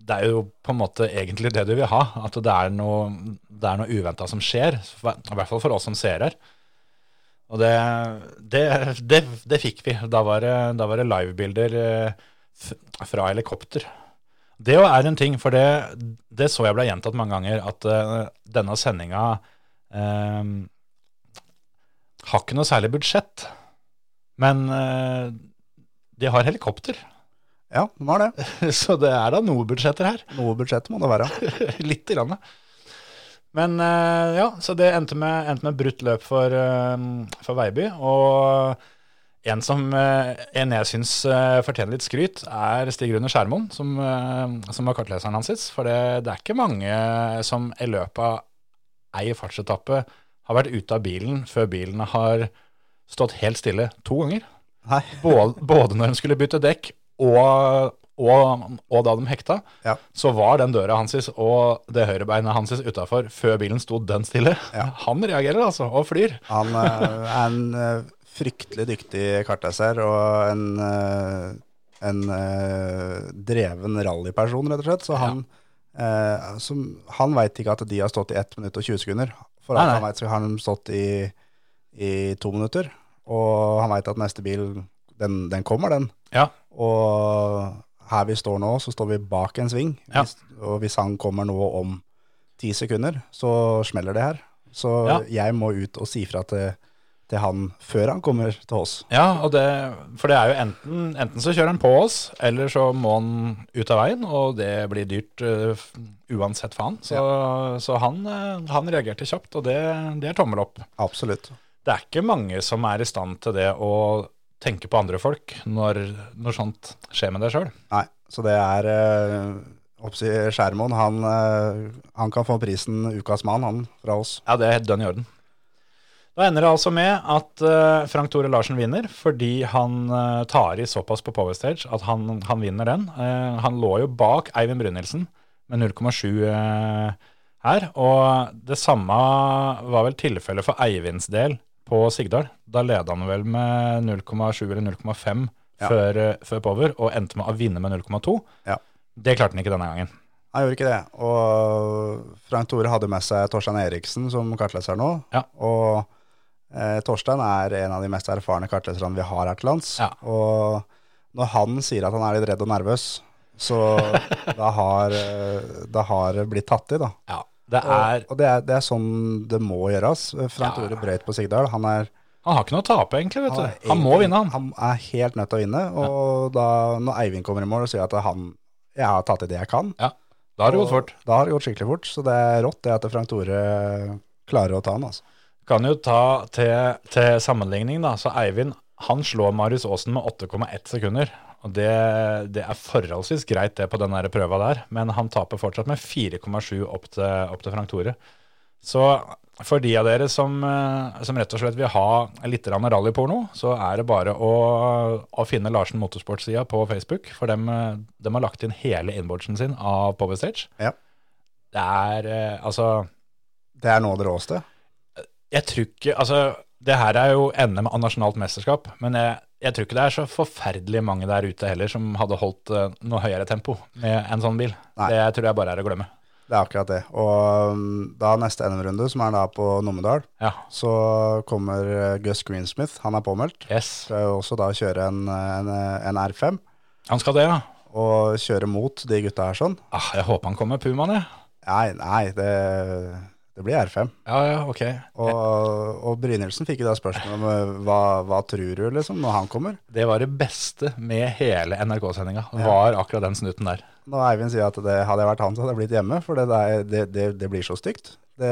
Speaker 3: det er jo på en måte egentlig det du vil ha. At det er noe, det er noe uventa som skjer, i hvert fall for oss som ser her. Og det, det, det, det fikk vi. Da var det, da var det livebilder eh, f- fra helikopter. Det jo er en ting, for det, det så jeg ble gjentatt mange ganger, at eh, denne sendinga eh, har ikke noe særlig budsjett. Men eh, de har helikopter,
Speaker 4: Ja, den har det.
Speaker 3: så det er da noe budsjetter her.
Speaker 4: Noe budsjett må det være.
Speaker 3: Litt i landet. Men eh, ja, så det endte med, endte med brutt løp for, eh, for Veiby. Og en som eh, en jeg syns eh, fortjener litt skryt, er Stig Rune Skjermoen, som, eh, som var kartleseren hans sist. For det, det er ikke mange eh, som i løpet av ei fartsetappe har vært ute av bilen før bilen har stått helt stille to ganger.
Speaker 4: Nei.
Speaker 3: både, både når de skulle bytte dekk, og, og, og da de hekta,
Speaker 4: Ja.
Speaker 3: så var den døra hansis og det høyrebeinet hansis utafor før bilen sto dønn stille. Han reagerer altså, og flyr.
Speaker 4: Han eh, er en eh, fryktelig dyktig kartleser og en, eh, en eh, dreven rallyperson, rett og slett. Så han, eh, som, han veit ikke at de har stått i 1 minutt og 20 sekunder. For
Speaker 3: Nei,
Speaker 4: alt
Speaker 3: nei.
Speaker 4: han veit, så har de stått i, i to minutter. Og han veit at neste bil, den, den kommer, den.
Speaker 3: Ja.
Speaker 4: Og her vi står nå, så står vi bak en sving.
Speaker 3: Ja.
Speaker 4: Hvis, og hvis han kommer nå om ti sekunder, så smeller det her. Så
Speaker 3: Ja.
Speaker 4: jeg må ut og si fra til, til han før han kommer til oss.
Speaker 3: Ja, og det, for det er jo enten, enten så kjører han på oss, eller så må han ut av veien, og det blir dyrt eh, f- uansett faen. Så, så han, eh, han reagerte kjapt, og det, det er tommel opp.
Speaker 4: Absolutt.
Speaker 3: det er ikke mange som er i stand til det å tenke på andre folk når, når sånt skjer med deg sjøl.
Speaker 4: Nei, så det er eh, oppsi Skjermoen, han, eh, han kan få prisen Ukas mann, han, fra oss.
Speaker 3: Ja, det er helt dønn i orden. Da ender det altså med at eh, Frank Tore Larsen vinner, fordi han eh, tar i såpass på Power Stage at han, han vinner den. Eh, han lå jo bak Eivind Brynildsen med 0,7 eh, her. Og det samme var vel tilfellet for Eivinds del på Sigdal. Da leda han vel med 0,7 eller 0,5
Speaker 4: Ja.
Speaker 3: før, eh, før Power, og endte med å vinne med 0,2.
Speaker 4: Ja.
Speaker 3: Det klarte han ikke denne gangen.
Speaker 4: Han gjorde ikke det. Og Frank Tore hadde med seg Torstein Eriksen som kartleser nå.
Speaker 3: Ja.
Speaker 4: Og eh, Torstein er en av de mest erfarne kartleserne vi har her til lands.
Speaker 3: Ja.
Speaker 4: Og når han sier at han er litt redd og nervøs, så da har eh, da har det blitt tatt i, da.
Speaker 3: Ja, det er,
Speaker 4: Og, og det, er, det er sånn det må gjøres. Frank Tore brøt på Sigdal. Han er
Speaker 3: han har ikke noe å tape, egentlig. vet
Speaker 4: han er
Speaker 3: du. Han må
Speaker 4: egentlig-
Speaker 3: vinne, han.
Speaker 4: Han er helt nødt til å vinne. Og da, når Eivind kommer i mål og sier at han, jeg har tatt i det jeg kan,
Speaker 3: Ja, Da har det gått
Speaker 4: og
Speaker 3: fort.
Speaker 4: Da har det gått skikkelig fort, så det er rått det at Frank Tore eh, klarer å ta han, altså.
Speaker 3: Kan jo ta til, til sammenligning, da. Så Eivind han slår Marius Aasen med 8,1 sekunder. Og det, det er forholdsvis greit, det, på den der prøva der. Men han taper fortsatt med 4,7 opp, til- opp til Frank Tore. Så for de av dere som, eh, som rett og slett vil ha litt grann rallyporno, så er det bare å, å finne Larsen Motorsportsida på Facebook. For dem, eh, dem har lagt inn hele inboxen sin av Power Stage.
Speaker 4: Ja.
Speaker 3: Det er eh, Altså
Speaker 4: Det er nå det råeste.
Speaker 3: jeg tror ikke Altså, det her er jo NM av nasjonalt mesterskap, men jeg, jeg tror ikke det er så forferdelig mange der ute heller som hadde holdt eh, noe høyere tempo med en sånn bil.
Speaker 4: Nei.
Speaker 3: Det tror jeg bare er å glemme.
Speaker 4: Det er akkurat det. Og um, da neste NM-runde, som er da på Numedal,
Speaker 3: Ja.
Speaker 4: så kommer eh, Gus Greensmith, han er påmeldt.
Speaker 3: Yes.
Speaker 4: Skal jo også da kjøre en, eh, en, en R5,
Speaker 3: Han skal det, ja.
Speaker 4: og kjøre mot de gutta her sånn.
Speaker 3: Ah, jeg håper han kommer med Pumaen, jeg.
Speaker 4: Nei, nei, det, det blir R5.
Speaker 3: Ja, ja, ok.
Speaker 4: Og, og Brynildsen fikk jo da spørsmål om eh, hva, hva tror du, liksom, når han kommer.
Speaker 3: Det var det beste med hele NRK-sendinga, var akkurat den snuten der.
Speaker 4: Når Eivind sier at det hadde jeg vært han, så hadde jeg blitt hjemme, for det, der, det, det, det blir så stygt. Det,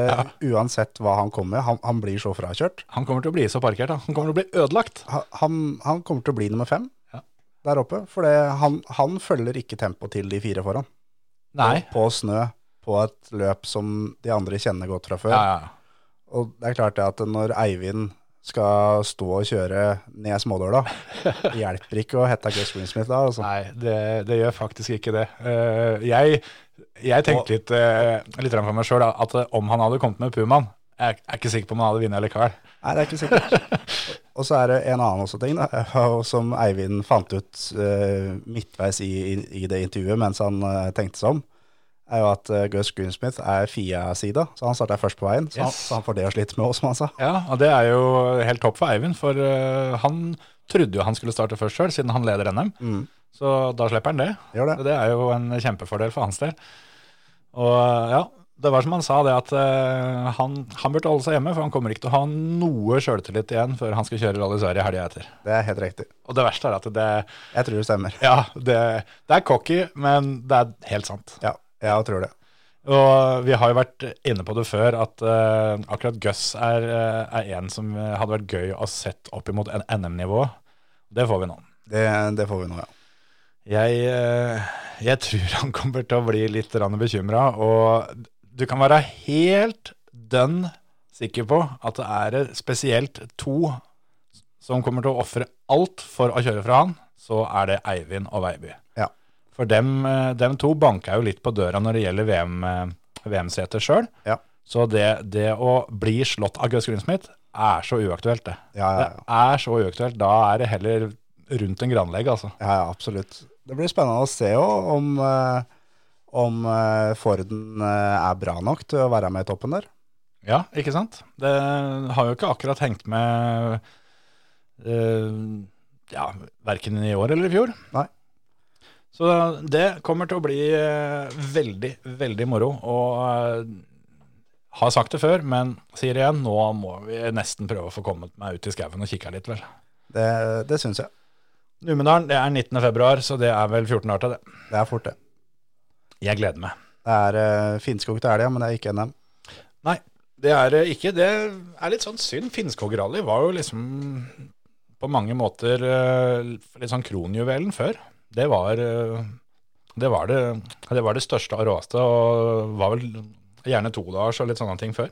Speaker 4: Uansett hva han kommer med, han, han blir så frakjørt.
Speaker 3: Han kommer til å bli så parkert, da. Han kommer til å bli ødelagt.
Speaker 4: Han, han- han kommer til å bli nummer fem
Speaker 3: Ja.
Speaker 4: der oppe, for det, han, han følger ikke tempoet til de fire foran.
Speaker 3: Nei.
Speaker 4: På snø, på et løp som de andre kjenner godt fra før.
Speaker 3: Ja, ja, ja.
Speaker 4: Og det er klart det at når Eivind skal stå og kjøre ned smådåla, det hjelper ikke å hette Gus Greensmith da, altså.
Speaker 3: Nei, det, det gjør faktisk ikke det. Eh, jeg, jeg tenkte litt, eh, litt grann for meg sjøl at eh, om han hadde kommet med Pumaen jeg er ikke sikker på om han hadde vunnet likevel.
Speaker 4: Nei, det er ikke sikkert. Og så er det en annen også ting, da, og som Eivind fant ut eh, midtveis i, i, i det intervjuet mens han eh, tenkte seg om, er jo at uh, Gus Greensmith er FIA-sida, så han starta først på veien. Så, han,
Speaker 3: Yes.
Speaker 4: så han får det å slite med òg, som han sa.
Speaker 3: Ja, og Det er jo helt topp for Eivind, for eh, han trodde jo han skulle starte først sjøl, siden han leder NM.
Speaker 4: Mm.
Speaker 3: Så da slipper han det.
Speaker 4: Gjør
Speaker 3: Og
Speaker 4: det.
Speaker 3: Det er jo en kjempefordel for hans del. Og eh, ja, det var som han sa, det at eh, han, han burde holde seg hjemme, for han kommer ikke til å ha noe sjøltillit igjen før han skal kjøre Rally Sverige helga etter.
Speaker 4: Det er helt riktig.
Speaker 3: Og det verste er at det,
Speaker 4: Jeg tror det stemmer.
Speaker 3: ja, det, det er cocky, men det er helt sant.
Speaker 4: Ja, jeg tror det.
Speaker 3: Og vi har jo vært inne på det før, at eh, akkurat Gus er, eh, er en som eh, hadde vært gøy å ha sett opp imot en NM-nivå. Det får vi nå.
Speaker 4: Det, det får vi nå, ja.
Speaker 3: Jeg, eh, jeg tror han kommer til å bli litt bekymra, og du kan være helt dønn sikker på at det er spesielt to som kommer til å ofre alt for å kjøre fra han, så er det Eivind og Veiby.
Speaker 4: Ja.
Speaker 3: For dem, eh, dem to banka jo litt på døra når det gjelder VM, eh, VM-setet sjøl.
Speaker 4: Ja.
Speaker 3: Så det, det å bli slått av Gaus Grinsmith er så uaktuelt, det.
Speaker 4: Ja, ja, ja.
Speaker 3: Det er så uaktuelt. Da er det heller rundt en granlegg, altså.
Speaker 4: Ja, ja, absolutt. Det blir spennende å se jo om, eh, om eh, Forden eh, er bra nok til å være med i toppen der.
Speaker 3: Ja, ikke sant? Det har jo ikke akkurat hengt med eh, ja, verken i år eller i fjor.
Speaker 4: Nei.
Speaker 3: Så det kommer til å bli eh, veldig, veldig moro. Og eh, har sagt det før, men sier igjen, nå må vi nesten prøve å få kommet meg ut i skauen og kikka litt, vel.
Speaker 4: Det, det syns jeg.
Speaker 3: Numedalen, det er 19. februar, så det er vel 14 dager til det.
Speaker 4: Det er fort, det.
Speaker 3: Jeg gleder meg.
Speaker 4: Det er eh, Finnskog til helga, men det er ikke NM.
Speaker 3: Nei, det er det ikke. Det er litt sånn synd. Finnskogerally var jo liksom på mange måter eh, litt sånn kronjuvelen før. Det var eh, det, var det, det var det største og råeste, og var vel gjerne todagers og litt sånne ting før.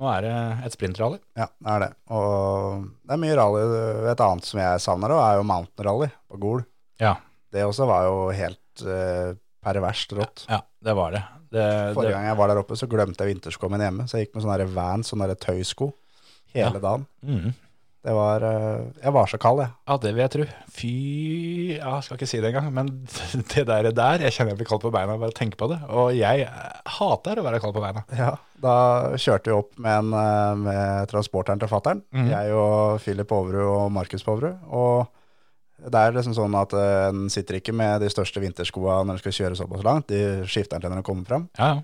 Speaker 3: Nå er det et sprintrally.
Speaker 4: Ja, det er det. Og det er mye rally. Et annet som jeg savner òg, er jo mountain rally på Gol.
Speaker 3: Ja.
Speaker 4: Det også var jo helt eh, perverst rått.
Speaker 3: Ja, det var det. det,
Speaker 4: Forrige
Speaker 3: det
Speaker 4: gang jeg var der oppe, så glemte jeg vinterskoa mine hjemme. Så jeg gikk med sånne der vans, sånne der tøysko, hele
Speaker 3: Ja.
Speaker 4: dagen.
Speaker 3: mm,
Speaker 4: Det var eh, Jeg var så kald, jeg.
Speaker 3: ja, det vil jeg tro. Fy ja, Jeg skal ikke si det engang, men det der, der Jeg kjenner jeg blir kald på beina bare av å tenke på det. Og jeg hater å være kald på beina.
Speaker 4: Ja, da kjørte vi opp med, en, eh, med transporteren til fattern. Jeg og Philip Overud og Markus Overud. Og det er liksom sånn at eh, en sitter ikke med de største vinterskoa når en skal kjøre såpass langt. De skifter den til når en kommer fram.
Speaker 3: Ja, ja.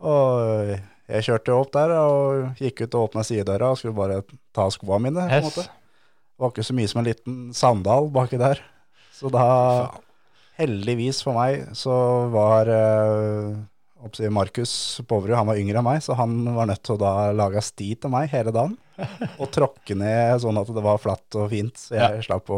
Speaker 4: Og eh, jeg kjørte jo opp der og gikk ut og åpna sidedøra og skulle bare ta skoa mine. på en
Speaker 3: Yes.
Speaker 4: måte. Det var ikke så mye som en liten sandal baki der. Så da, heldigvis for meg, så var eh, oppsi Markus Poverud, han var yngre enn meg, så han var nødt til å da lage sti til meg hele dagen. Og tråkke ned sånn at det var flatt og fint, så jeg slapp å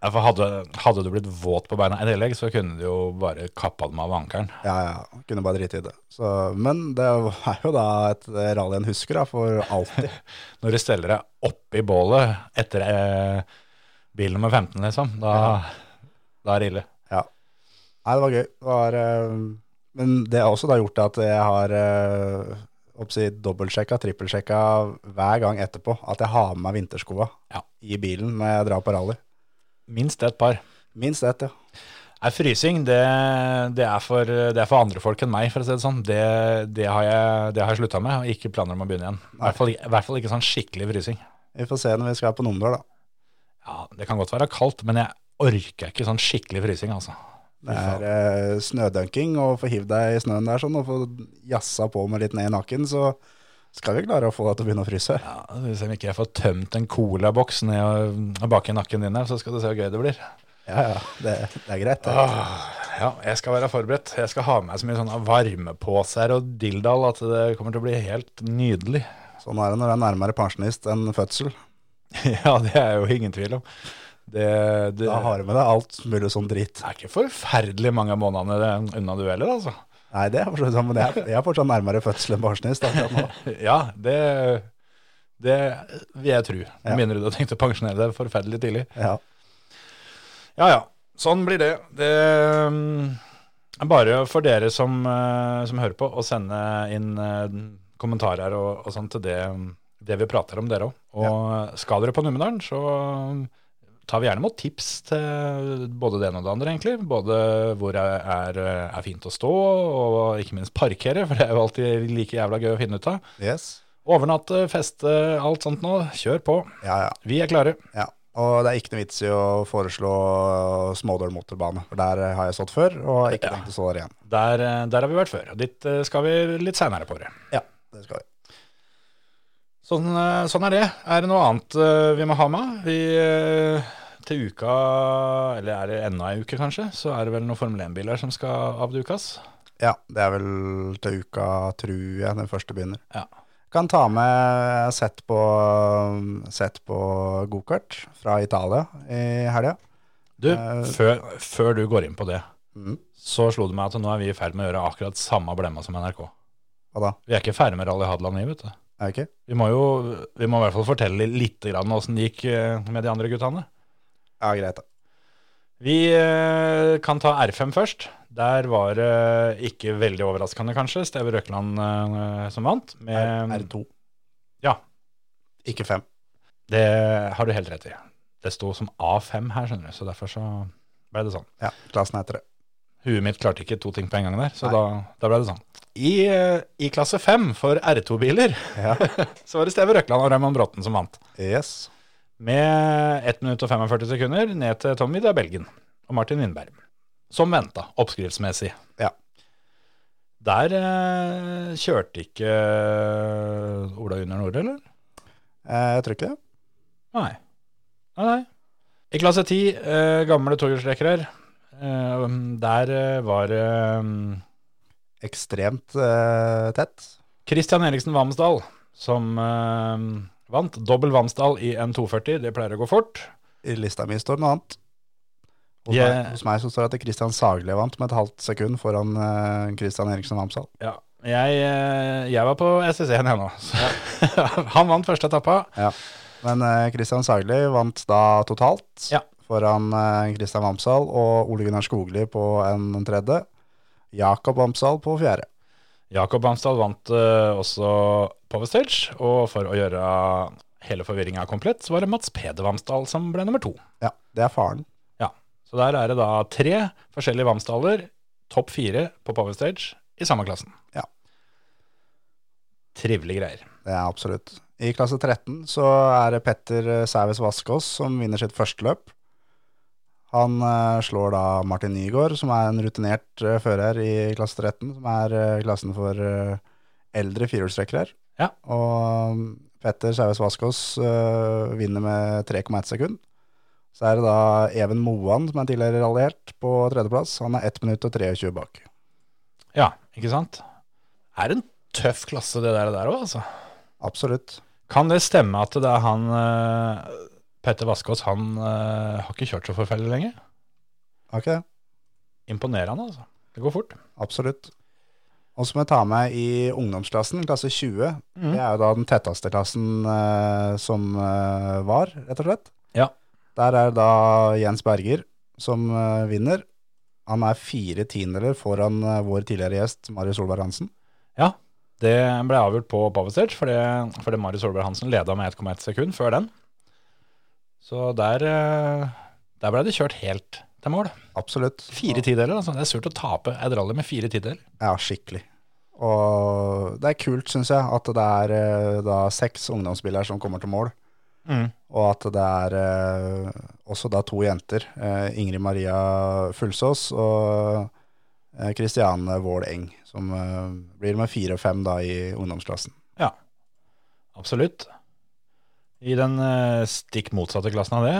Speaker 3: Ja, for hadde, hadde du blitt våt på beina i tillegg, så kunne du jo bare kappa dem av ved ankelen.
Speaker 4: Ja, ja, kunne bare drite i det. Så, men det er jo da et rally en husker, da, for alltid.
Speaker 3: Når du steller deg oppi bålet etter eh, bil nummer 15, liksom, da, da er det ille.
Speaker 4: Ja. Nei, det var gøy. Det var, eh, men det har også da gjort at jeg har eh, oppsi, dobbeltsjekka, trippelsjekka hver gang etterpå at jeg har med meg vinterskoa
Speaker 3: Ja.
Speaker 4: i bilen når jeg drar på rally.
Speaker 3: Minst et par.
Speaker 4: Minst ett, ja.
Speaker 3: Nei, frysing, det, det, er for, det er for andre folk enn meg, for å si det sånn. Det, det har jeg, det har jeg slutta med, og ikke planer om å begynne igjen. I hvert, fall, I hvert fall ikke sånn skikkelig frysing.
Speaker 4: Vi får se når vi skal på Numedal, da.
Speaker 3: Ja, Det kan godt være kaldt, men jeg orker ikke sånn skikkelig frysing, altså.
Speaker 4: Det er eh, snødunking, og få hiv deg i snøen der sånn, og få jassa på med litt ned i nakken, så skal vi klare å få deg til å begynne å fryse.
Speaker 3: Ja, Skal vi se om ikke jeg får tømt en colaboks ned og- og bak i nakken din her, så skal du se hvor gøy det blir.
Speaker 4: Ja, ja, det, det er greit. Det.
Speaker 3: Åh, ja, jeg skal være forberedt. Jeg skal ha med meg så mye sånne varmepåser og dilldall at det kommer til å bli helt nydelig.
Speaker 4: Sånn er det når du er nærmere pensjonist enn fødsel.
Speaker 3: ja, det er jo ingen tvil om. Det, det,
Speaker 4: Da har du med deg alt mulig sånn dritt.
Speaker 3: det er ikke forferdelig mange månedene det- unna du heller, altså.
Speaker 4: Nei, det er forstått, sånn, men jeg er, jeg er fortsatt nærmere fødsel enn pensjonist akkurat nå.
Speaker 3: Ja, det, det vil jeg tro.
Speaker 4: Ja.
Speaker 3: Mener du du har tenkt å pensjonere deg forferdelig tidlig?
Speaker 4: Ja.
Speaker 3: Ja, ja. Sånn blir det. Det mm, er bare for dere som, eh, som hører på, å sende inn eh, kommentarer og, og sånn til det, det vi prater om, dere òg. Og skal dere på Numedalen, så mm, tar vi gjerne imot tips til både det ene og det andre, egentlig. Både hvor det er, er fint å stå, og ikke minst parkere, for det er jo alltid like jævla gøy å finne ut av.
Speaker 4: Yes.
Speaker 3: Overnatte, feste, alt sånt nå. Kjør på.
Speaker 4: Ja, ja,
Speaker 3: Vi er klare.
Speaker 4: ja. Og det er ikke noe vits i å foreslå Smådøl motorbane, for der eh, har jeg stått før, og har ikke tenkt å stå der igjen.
Speaker 3: Der, eh, der har vi vært før, og dit eh, skal vi litt seinere på året.
Speaker 4: Ja, det skal vi.
Speaker 3: Sånn, eh, sånn er det. Er det noe annet eh, vi må ha med? Vi, eh, til uka, eller er det enda ei uke kanskje, så er det vel noen Formel 1-biler som skal avdukas.
Speaker 4: Ja, det er vel til uka, tror jeg, den første begynner.
Speaker 3: Ja.
Speaker 4: Kan ta med sett på, mm, sett på gokart fra Italia i helga.
Speaker 3: Du,
Speaker 4: Eh.
Speaker 3: før, før du går inn på det,
Speaker 4: Mhm.
Speaker 3: så slo det meg at nå er vi i ferd med å gjøre akkurat samme blemma som NRK.
Speaker 4: Hva da?
Speaker 3: Vi er ikke ferdig med Rally Hadeland, vi, vet du.
Speaker 4: Er det ikke?
Speaker 3: Vi må jo vi må i hvert fall fortelle litt grann åssen det gikk eh, med de andre guttene.
Speaker 4: Ja, greit da.
Speaker 3: Vi eh, kan ta R5 først. Der var det ikke veldig overraskende, kanskje, Steve Røkland eh, som vant. Med,
Speaker 4: R2.
Speaker 3: Ja.
Speaker 4: Ikke fem.
Speaker 3: Det har du helt rett i. Det sto som A5 her, skjønner du, så derfor så ble det sånn.
Speaker 4: Ja, klassen heter det.
Speaker 3: Huet mitt klarte ikke to ting på en gang der, så
Speaker 4: Nei.
Speaker 3: da, da ble det sånn. I, eh, I klasse 5 for R2-biler
Speaker 4: Ja.
Speaker 3: så var det Steve Røkland og Raymond Bråten som vant.
Speaker 4: Yes.
Speaker 3: Med 1 minutt og 45 sekunder ned til Tommy da Belgien og Martin Windberg. Som venta, oppskriftsmessig.
Speaker 4: Ja.
Speaker 3: Der eh, kjørte ikke Ola Junior Nord, eller?
Speaker 4: Eh, jeg tror ikke det.
Speaker 3: Nei. Nei, nei. I klasse 10, eh, gamle tohjulstrekkere. Eh, der eh, var eh,
Speaker 4: ekstremt eh, tett.
Speaker 3: Christian Eriksen Vamsdal som eh, vant. Dobbel Vamsdal i en 240, det pleier å gå fort.
Speaker 4: I lista mi står noe annet. Hos,
Speaker 3: Jeg-
Speaker 4: meg, hos meg så står det at Kristian Sagli vant med et halvt sekund foran Kristian Eriksen Vamsal.
Speaker 3: Ja, jeg, eh, jeg var på SS1 jeg nå. så- Han vant første etappa.
Speaker 4: Men Kristian Sagli vant da totalt eh,
Speaker 3: Ja.
Speaker 4: foran Kristian Vamsal og Ole Gunnar Skogli på en tredje. Jakob Amsdal på fjerde.
Speaker 3: Jakob Amsdal vant eh, også Power Stage, og for å gjøre hele forvirringa komplett, så var det Mats Peder Vamsdal som ble nummer to.
Speaker 4: Ja, det er faren.
Speaker 3: Ja, Så der er det da tre forskjellige Vamsdaler, topp fire på Power Stage, i samme klassen.
Speaker 4: Ja.
Speaker 3: Trivelige greier.
Speaker 4: Det er absolutt. I klasse 13 så er det Petter eh, Sæves Vaskås som vinner sitt første løp. Han eh, slår da Martin Nygaard, som er en rutinert eh, fører i klasse 13, som er eh, klassen for eh, eldre firehjulstrekkere.
Speaker 3: Ja.
Speaker 4: Og mm, Petter Sæves Vaskås eh, vinner med 3,1 sekund. Så er det da Even Moan, som er tidligere rallyhelt, på tredjeplass. Han er 1 minutt og 23 bak.
Speaker 3: Ja, ikke sant? Er en tøff klasse det der, der òg, altså.
Speaker 4: Absolutt.
Speaker 3: Kan det stemme at det er han eh, Petter Vaskås, han eh, har ikke kjørt så forferdelig lenge?
Speaker 4: Har ikke det?
Speaker 3: Imponerende, altså. Det går fort.
Speaker 4: Absolutt. Og så må jeg ta med i ungdomsklassen, klasse 20.
Speaker 3: Mm.
Speaker 4: Det er jo da den tetteste klassen eh, som eh, var, rett og slett.
Speaker 3: Ja.
Speaker 4: Der er da Jens Berger som eh, vinner. Han er fire tiendeler foran eh, vår tidligere gjest, Marius Solberg Hansen.
Speaker 3: Ja, det ble avgjort på Power Stage, fordi, fordi Marius Solberg Hansen leda med 1,1 sekund før den. Så der, eh, der ble det kjørt helt til mål.
Speaker 4: Absolutt.
Speaker 3: Fire tideler, altså. Det er surt å tape et rally med fire tideler.
Speaker 4: Ja, skikkelig. Og det er kult, syns jeg, at det er eh, da seks ungdomsspillere som kommer til mål. Og at det er eh, også da to jenter. Eh, Ingrid Maria Fullsås og eh, Kristiane Wold Eng, som eh, blir med fire og fem da i ungdomsklassen.
Speaker 3: Ja, absolutt. I den eh, stikk motsatte klassen av det,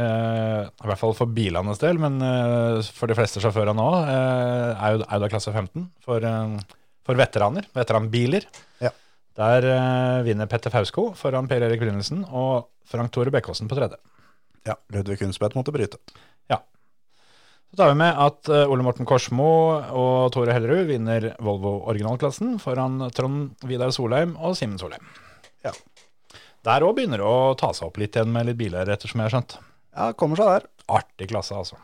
Speaker 3: eh, i hvert fall for bilenes del, men eh, for de fleste sjåførene nå, eh, er, jo, er jo da klasse 15 for, eh, for veteraner, veteranbiler.
Speaker 4: Ja.
Speaker 3: Der eh, vinner Petter Fausko foran Per Erik Brynildsen og Frank Tore Bekkåsen på tredje.
Speaker 4: Ja, Ludvig Kunstvedt måtte bryte.
Speaker 3: Så tar vi med at eh, Ole Morten Korsmo og Tore Hellerud vinner Volvo originalklassen foran Trond Vidar Solheim og Simen Solheim.
Speaker 4: Ja.
Speaker 3: Der òg begynner det å ta seg opp litt igjen med litt biler, ettersom jeg har skjønt.
Speaker 4: Ja, kommer seg der.
Speaker 3: Artig klasse, altså.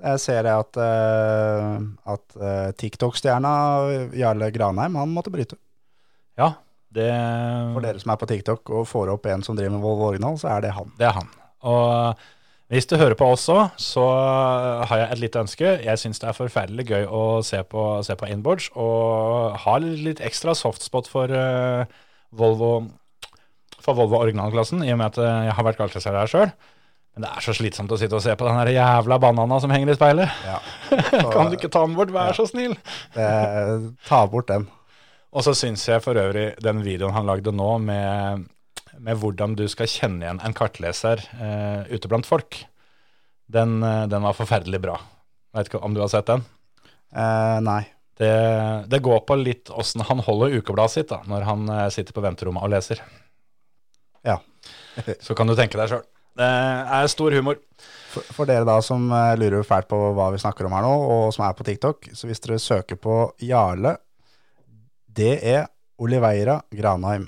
Speaker 4: Jeg ser det at, eh, at eh, TikTok-stjerna eh, Jarle Granheim, han måtte bryte.
Speaker 3: Ja, det,
Speaker 4: For dere som er på TikTok og får opp en som driver med Volvo Original, så er det han.
Speaker 3: det er han. Og eh, hvis du hører på oss òg, så eh, har jeg et lite ønske. Jeg syns det er forferdelig gøy å se på, se på inboards, og har litt ekstra softspot for eh, Volvo for Volvo originalklassen, i og med at eh, jeg har vært galtreserver her sjøl. Men det er så slitsomt å sitte og se på den her jævla banana som henger i speilet.
Speaker 4: Ja.
Speaker 3: Kan du ikke ta den bort, vær så snill?
Speaker 4: Eh, ta bort den.
Speaker 3: Og så syns jeg for øvrig den videoen han lagde nå, med, med hvordan du skal kjenne igjen en kartleser eh, ute blant folk, den, eh, den var forferdelig bra. Veit ikke om du har sett den?
Speaker 4: Eh, nei.
Speaker 3: Det, det går på litt åssen han holder ukebladet sitt da, når han eh, sitter på venterommet og leser.
Speaker 4: Ja.
Speaker 3: Så kan du tenke deg sjøl. Det er stor humor.
Speaker 4: For, for dere da som eh, lurer fælt på hva vi snakker om her nå, og som er på TikTok, så hvis dere søker på Jarle Det er Oliveira Granheim.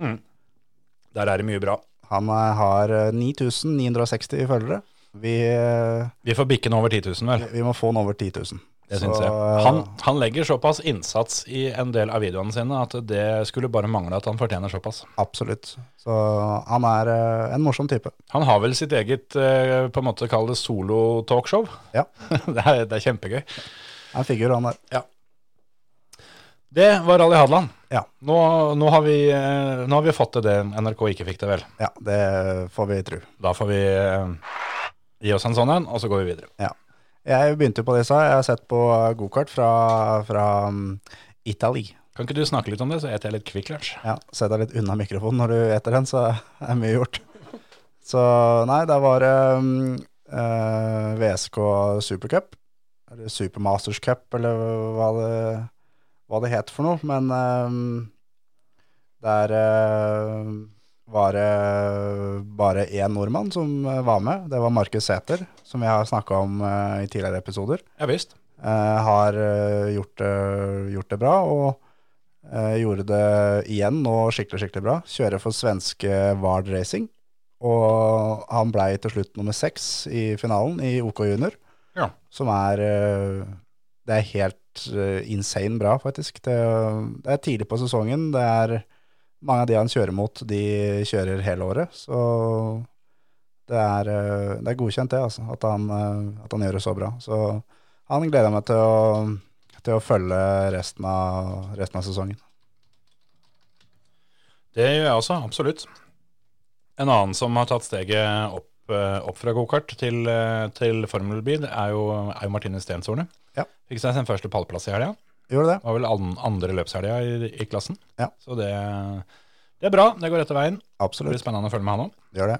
Speaker 3: Der er det mye bra.
Speaker 4: Han eh, har eh, 9960 følgere. Vi, eh,
Speaker 3: Vi får bikke den over 10 000, vel.
Speaker 4: vi må få han over 10 000.
Speaker 3: Det
Speaker 4: Så,
Speaker 3: syns jeg.
Speaker 4: eh,
Speaker 3: Han, han legger såpass innsats i en del av videoene sine at det skulle bare mangle at han fortjener såpass.
Speaker 4: Absolutt. Så han er eh, en morsom type.
Speaker 3: Han har vel sitt eget, eh, på en måte kall det solo-talkshow.
Speaker 4: Ja.
Speaker 3: det, er, det er kjempegøy.
Speaker 4: En figur, han der.
Speaker 3: Det var Rally Hadeland.
Speaker 4: Ja.
Speaker 3: Nå, nå, har vi, eh, nå har vi fått til det NRK ikke fikk det, vel.
Speaker 4: Ja, det får vi tro.
Speaker 3: Da får vi eh, gi oss en sånn en, og så går vi videre.
Speaker 4: Ja. Jeg begynte jo på det jeg sa. Jeg har sett på eh, gokart fra, fra mm, Italy.
Speaker 3: Kan ikke du snakke litt om det, så eter jeg litt Kvikk Lunsj?
Speaker 4: Ja, Sett deg litt unna mikrofonen når du eter den, så er mye gjort. Så nei, der var det mm, eh, VSK Supercup, eller Supermasters Cup, eller hva det, hva det het for noe. Men eh, der eh, var det bare én nordmann som eh, var med. Det var Markus Sæther, som vi har snakka om eh, i tidligere episoder.
Speaker 3: Ja visst.
Speaker 4: Eh, har eh, gjort, det- gjort det bra, og eh, gjorde det igjen nå skikkelig, skikkelig bra. Kjører for svenske Vard Racing, og han blei til slutt nummer seks i finalen i OK Junior,
Speaker 3: Ja.
Speaker 4: som er eh, det er helt eh, insane bra, faktisk. Det, det er tidlig på sesongen. Det er mange av de han kjører mot, de kjører hele året. Så det er, eh, det er godkjent, det, altså. At han, eh, at han gjør det så bra. Så han gleder jeg meg til å, til å følge resten av, resten av sesongen.
Speaker 3: Det gjør jeg også, absolutt. En annen som har tatt steget opp, eh, opp fra gokart til, eh, til formelbil, er jo, er jo Martine Stenshorne.
Speaker 4: Ja.
Speaker 3: Fikk seg sin første pallplass i helga.
Speaker 4: Gjorde det?
Speaker 3: Det var vel an- andre løpshelga i, i klassen.
Speaker 4: Ja.
Speaker 3: Så det, det er bra. Det går rette veien. Det blir
Speaker 4: Absolutt.
Speaker 3: spennende å følge med han òg.
Speaker 4: Gjør det.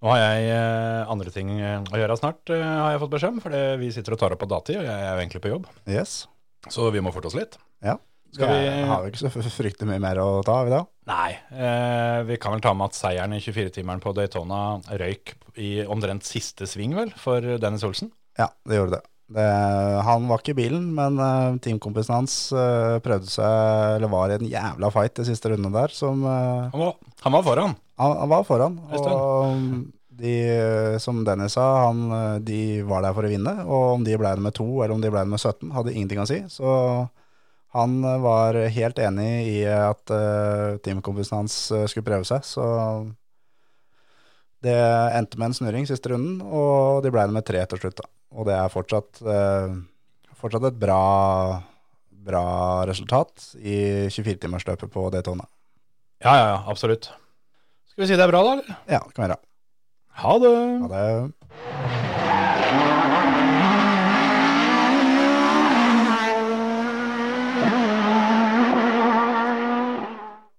Speaker 3: Nå har jeg eh, andre ting eh, å gjøre snart, eh, har jeg fått beskjed om. Fordi vi sitter og tar opp på dati, og jeg er jo egentlig på jobb.
Speaker 4: Yes.
Speaker 3: Så vi må forte oss litt.
Speaker 4: Ja.
Speaker 3: Skal vi-
Speaker 4: Har vi ikke så fryktelig mye mer å ta, har vi da?
Speaker 3: Nei. Eh, vi kan vel ta med at seieren i 24-timeren på Daytona røyk i omtrent siste sving, vel, for Dennis Olsen.
Speaker 4: Ja, det gjorde det. det han var ikke i bilen, men eh, teamkompisen hans eh, prøvde seg, eller var i en jævla fight de siste rundene der, som eh,
Speaker 3: Han var, han var foran.
Speaker 4: han, han var foran.
Speaker 3: En stund.
Speaker 4: Og mm, de, eh, som Dennis sa, han, eh, de var der for å vinne, og om de ble det med to, eller om de ble det med 17, hadde ingenting å si. Så han eh, var helt enig i at eh, teamkompisen hans eh, skulle prøve seg, så det endte med en snurring siste runden, og de ble det med tre til slutt. da. Og det er fortsatt, eh, fortsatt et bra, bra resultat i 24-timersløpet på Daytona.
Speaker 3: Ja, ja, ja, absolutt. Skal vi si det er bra, da? eller?
Speaker 4: Ja, det kan være.
Speaker 3: Ha det.
Speaker 4: Ha det.